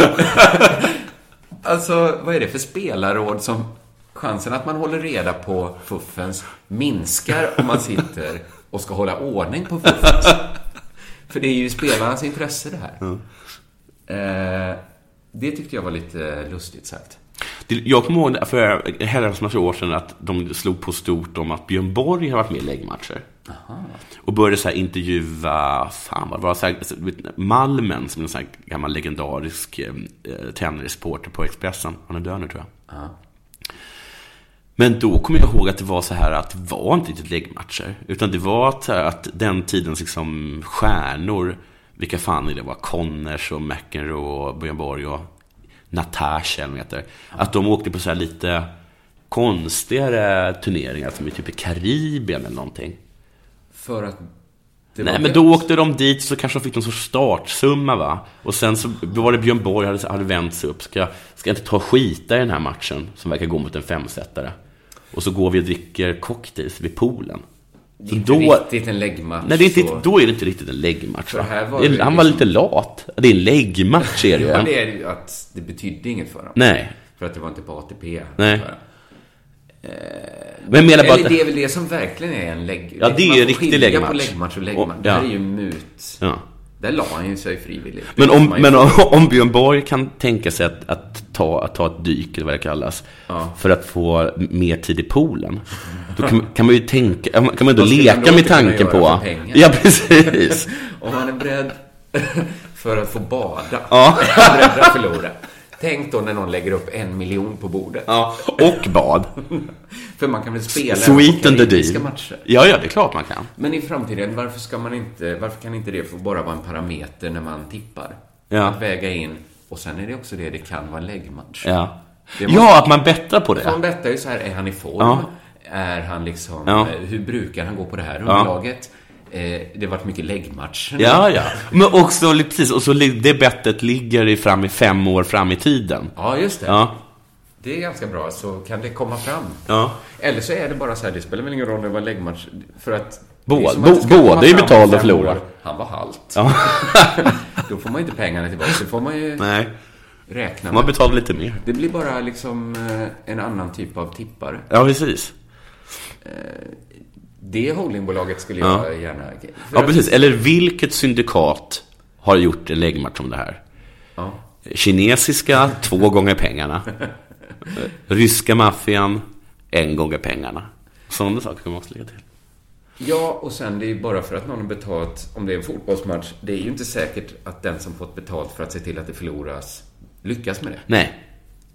Speaker 8: alltså, vad är det för spelarråd som chansen att man håller reda på fuffens minskar om man sitter och ska hålla ordning på fuffens? För det är ju i spelarnas intresse det här. Eh, det tyckte jag var lite lustigt sagt.
Speaker 9: Det- Jag kommer ihåg för en herrans massa år sedan att de slog på stort om att Björn Borg har varit med i läggmatcher. Och började så här intervjua, fan vad det var, så här, så, vet ni, Malmen som är en sån här gammal legendarisk eh, tennisreporter på Expressen. Han är död nu tror jag. Men då kommer jag ihåg att det var så här att det var inte riktigt läggmatcher. Utan det var att, så här, att den tidens liksom stjärnor, vilka fan är det var, Conners och McEnroe och Björn Borg och Natasha eller vad heter. Att de åkte på så här lite konstigare turneringar som är typ i Karibien eller någonting.
Speaker 8: För att... det
Speaker 9: Nej
Speaker 8: var
Speaker 9: men
Speaker 8: det.
Speaker 9: då åkte de dit så kanske de fick någon sorts startsumma va? Och sen så var det Björn Borg hade, hade vänt sig upp. Ska, ska jag inte ta och skita i den här matchen som verkar gå mot en femsetare? Och så går vi och dricker cocktails vid poolen.
Speaker 8: Det är
Speaker 9: Så
Speaker 8: inte riktigt en läggmatch,
Speaker 9: Nej, det är inte,
Speaker 8: så-
Speaker 9: då är det inte riktigt en läggmatch
Speaker 8: För
Speaker 9: va?
Speaker 8: här var
Speaker 9: det är,
Speaker 8: det
Speaker 9: han var lite
Speaker 8: liksom-
Speaker 9: lat. Det är en läggmatch är det ju.
Speaker 8: Ja, det är ju att det betydde inget för dem.
Speaker 9: Nej.
Speaker 8: För att det var inte på ATP.
Speaker 9: Nej.
Speaker 8: Bara.
Speaker 9: Men jag menar bara
Speaker 8: Eller
Speaker 9: att-
Speaker 8: det är väl det som verkligen är en lägg...
Speaker 9: Ja, det är
Speaker 8: man
Speaker 9: ju
Speaker 8: får
Speaker 9: riktig
Speaker 8: skilja
Speaker 9: läggmatch.
Speaker 8: på läggmatch och läggmatch.
Speaker 9: Och-
Speaker 8: Det
Speaker 9: ja.
Speaker 8: här är ju mut.
Speaker 9: Ja.
Speaker 8: Där la han ju sig frivilligt. Det
Speaker 9: Men
Speaker 8: måste
Speaker 9: om,
Speaker 8: man ju
Speaker 9: men
Speaker 8: få.
Speaker 9: om, om Björn Borg kan tänka sig att, att, ta, att ta ett dyk, eller vad det kallas, för att få mer tid i poolen, då kan, kan man ju tänka, kan man ändå
Speaker 8: Vad skulle han
Speaker 9: leka
Speaker 8: då
Speaker 9: med
Speaker 8: inte kunna
Speaker 9: tanken
Speaker 8: göra
Speaker 9: på...
Speaker 8: för pengar?
Speaker 9: Ja, precis.
Speaker 8: Om han är beredd för att få bada.
Speaker 9: Ja.
Speaker 8: Beredd att förlora. Tänk då när någon lägger upp en miljon på bordet.
Speaker 9: Ja, och bad.
Speaker 8: för man kan väl spela
Speaker 9: Sweet
Speaker 8: på
Speaker 9: and the
Speaker 8: karibiska
Speaker 9: deal.
Speaker 8: matcher.
Speaker 9: Ja, ja, det är klart man kan.
Speaker 8: Men i framtiden, varför, ska man inte, varför kan inte det få bara vara en parameter när man tippar?
Speaker 9: Ja.
Speaker 8: Att väga in. Och sen är det också det, det kan vara en läggmatch.
Speaker 9: Ja.
Speaker 8: Det måste-
Speaker 9: Ja, att man bettar på det.
Speaker 8: För Man bettar ju så här, är han i form?
Speaker 9: Ja.
Speaker 8: Är han liksom,
Speaker 9: Ja.
Speaker 8: eh, hur brukar han gå på det här
Speaker 9: Ja.
Speaker 8: underlaget? Eh, det har varit mycket läggmatcher.
Speaker 9: Ja, ja. Men också, li- precis, och så li- det bettet ligger i fram i fem år fram i tiden.
Speaker 8: Ja, just det.
Speaker 9: Ja,
Speaker 8: Det är ganska bra, så kan det komma fram.
Speaker 9: Ja.
Speaker 8: Eller så är det bara så här, det spelar väl ingen roll om det var en läggmatch, för att...
Speaker 9: Båda-
Speaker 8: det är som att det ska
Speaker 9: båda
Speaker 8: komma
Speaker 9: är
Speaker 8: fram
Speaker 9: betalda
Speaker 8: fem
Speaker 9: förlorare.
Speaker 8: år. Han var halt.
Speaker 9: Ja.
Speaker 8: Då får man ju inte pengarna tillbaka, det får man ju
Speaker 9: Nej.
Speaker 8: räkna med.
Speaker 9: man betalar lite mer.
Speaker 8: Det blir bara liksom eh, en annan typ av tippare.
Speaker 9: Ja, precis.
Speaker 8: Det holdingbolaget skulle
Speaker 9: Ja.
Speaker 8: jag gärna... för
Speaker 9: Ja,
Speaker 8: att-
Speaker 9: precis. Eller vilket syndikat har gjort en läggmatch om det här?
Speaker 8: Ja.
Speaker 9: Kinesiska, två gånger pengarna. Ryska maffian, en gånger pengarna. Sådana saker kan man också lägga till.
Speaker 8: Ja, och sen det är ju bara för att någon har betalt, om det är en fotbollsmatch, det är ju inte säkert att den som fått betalt för att se till att det förloras lyckas med det.
Speaker 9: Nej.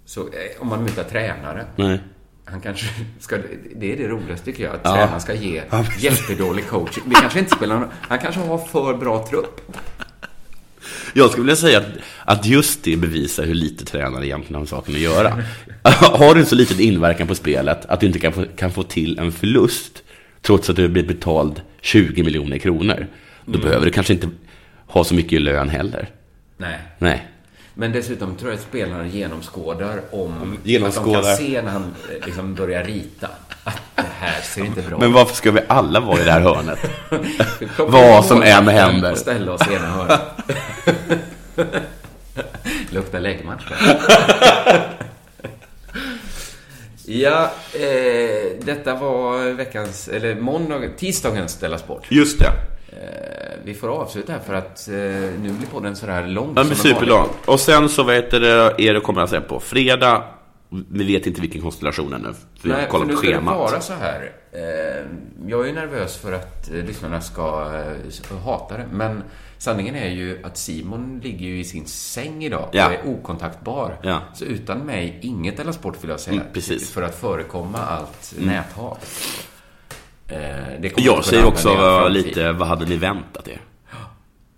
Speaker 8: Så eh, om man mutar tränare.
Speaker 9: Nej.
Speaker 8: Han kanske ska, det är det roligaste tycker jag, att
Speaker 9: Ja.
Speaker 8: tränaren ska ge
Speaker 9: Ja,
Speaker 8: jättedålig coach. Det kanske inte spelar någon Han kanske har för bra trupp.
Speaker 9: Jag skulle vilja säga att, att just det bevisar hur lite tränare egentligen har med saken att göra. har du en så liten inverkan på spelet att du inte kan få, kan få till en förlust trots att du blir betald 20 miljoner kronor, då
Speaker 8: Mm.
Speaker 9: behöver du kanske inte ha så mycket i lön heller.
Speaker 8: Nej.
Speaker 9: Nej.
Speaker 8: Men dessutom tror jag att spelaren genomskådar om...
Speaker 9: Genomskådar.
Speaker 8: Att de kan se när han eh, liksom börjar rita att det här ser inte bra
Speaker 9: Men
Speaker 8: ut.
Speaker 9: varför ska vi alla vara i det här hörnet?
Speaker 8: Vi plockar
Speaker 9: Vad
Speaker 8: upp
Speaker 9: som än
Speaker 8: målvakten
Speaker 9: händer.
Speaker 8: Och ställa oss i ena hörnet. Luktar läggmatch. ja, eh, detta var veckans, eller måndag, tisdagens Della Sport.
Speaker 9: Just det.
Speaker 8: Eh, vi får avsluta här för att eh, nu blir podden sådär lång.
Speaker 9: Den blir
Speaker 8: som den vanliga.
Speaker 9: superlång. Och sen så vet det, är det kommer jag säga på fredag. Vi vet inte vilken konstellation ännu. för Vi har
Speaker 8: Nej, för
Speaker 9: kollat
Speaker 8: nu
Speaker 9: på
Speaker 8: ska det
Speaker 9: schemat.
Speaker 8: vara så här. Eh, Jag är ju nervös för att eh, lyssnarna ska eh, hata det, men sanningen är ju att Simon ligger ju i sin säng idag och
Speaker 9: Ja.
Speaker 8: är okontaktbar.
Speaker 9: Ja.
Speaker 8: Så utan mig, inget eller sport vill jag säga.
Speaker 9: Mm, precis.
Speaker 8: För att förekomma allt
Speaker 9: Mm.
Speaker 8: näthat. Eh, det kommer
Speaker 9: Jag
Speaker 8: inte
Speaker 9: säger
Speaker 8: kunna
Speaker 9: också eh,
Speaker 8: använda i all framtid.
Speaker 9: lite, vad hade ni väntat er?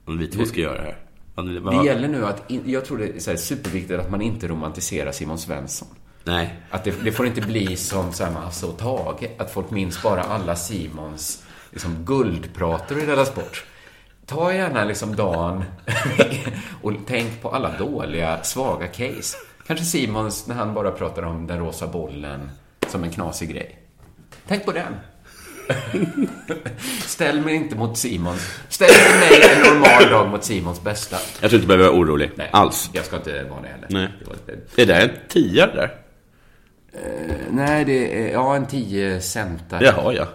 Speaker 9: Om vi två
Speaker 8: Det-
Speaker 9: ska göra det här. Vad hade ni- vad-
Speaker 8: Det gäller nu att, in- jag tror det är så här superviktigt att man inte romantiserar Simon Svensson.
Speaker 9: Nej.
Speaker 8: Att det, det får inte bli som så här med Hasse och Tage, att folk minns bara alla Simons liksom, guldprator i Della Sport. Ta gärna liksom dagen och tänk på alla dåliga, svaga case. Kanske Simons, när han bara pratar om den rosa bollen som en knasig grej. Tänk på den. Ställ mig inte mot Simons. Ställ inte mig en normal dag mot Simons bästa.
Speaker 9: Jag tror inte du behöver vara orolig.
Speaker 8: Nej,
Speaker 9: Alls.
Speaker 8: Jag ska inte vara det heller.
Speaker 9: Nej.
Speaker 8: Det var ett-
Speaker 9: Är det en tia det där?
Speaker 8: Eh, nej, det är ja, en 10 centa.
Speaker 9: Jaha, ja.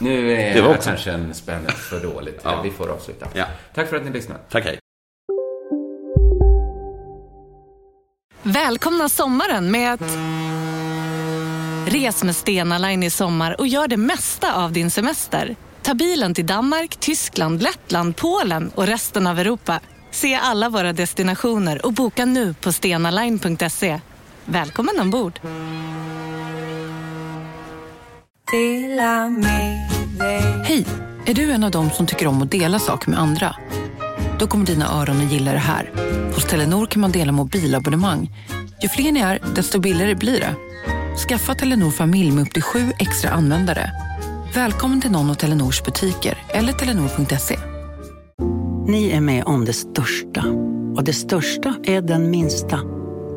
Speaker 8: Nu är
Speaker 9: Det
Speaker 8: det
Speaker 9: var
Speaker 8: var
Speaker 9: också-
Speaker 8: kanske en spänn för dåligt.
Speaker 9: Ja.
Speaker 8: Vi får avsluta.
Speaker 9: Ja.
Speaker 8: Tack för att ni lyssnade.
Speaker 9: Tack, hej.
Speaker 13: Välkomna sommaren med att... Res med Stena Line i sommar och gör det mesta av din semester. Ta bilen till Danmark, Tyskland, Lettland, Polen och resten av Europa. Se alla våra destinationer och boka nu på stenaline.se. Välkommen ombord! Hej! Är du en av dem som tycker om att dela saker med andra? Då kommer dina öron att gilla det här. Hos Telenor kan man dela mobilabonnemang. Ju fler ni är, desto billigare blir det. Skaffa Telenor familj med upp till sju extra användare. Välkommen till någon av Telenors butiker eller telenor.se.
Speaker 14: Ni är med om det största. Och det största är den minsta.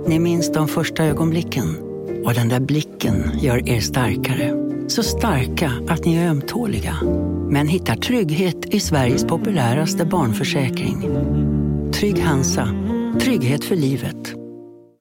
Speaker 14: Ni minns de första ögonblicken. Och den där blicken gör er starkare. Så starka att ni är ömtåliga. Men hittar trygghet i Sveriges populäraste barnförsäkring. Trygg Hansa. Trygghet för livet.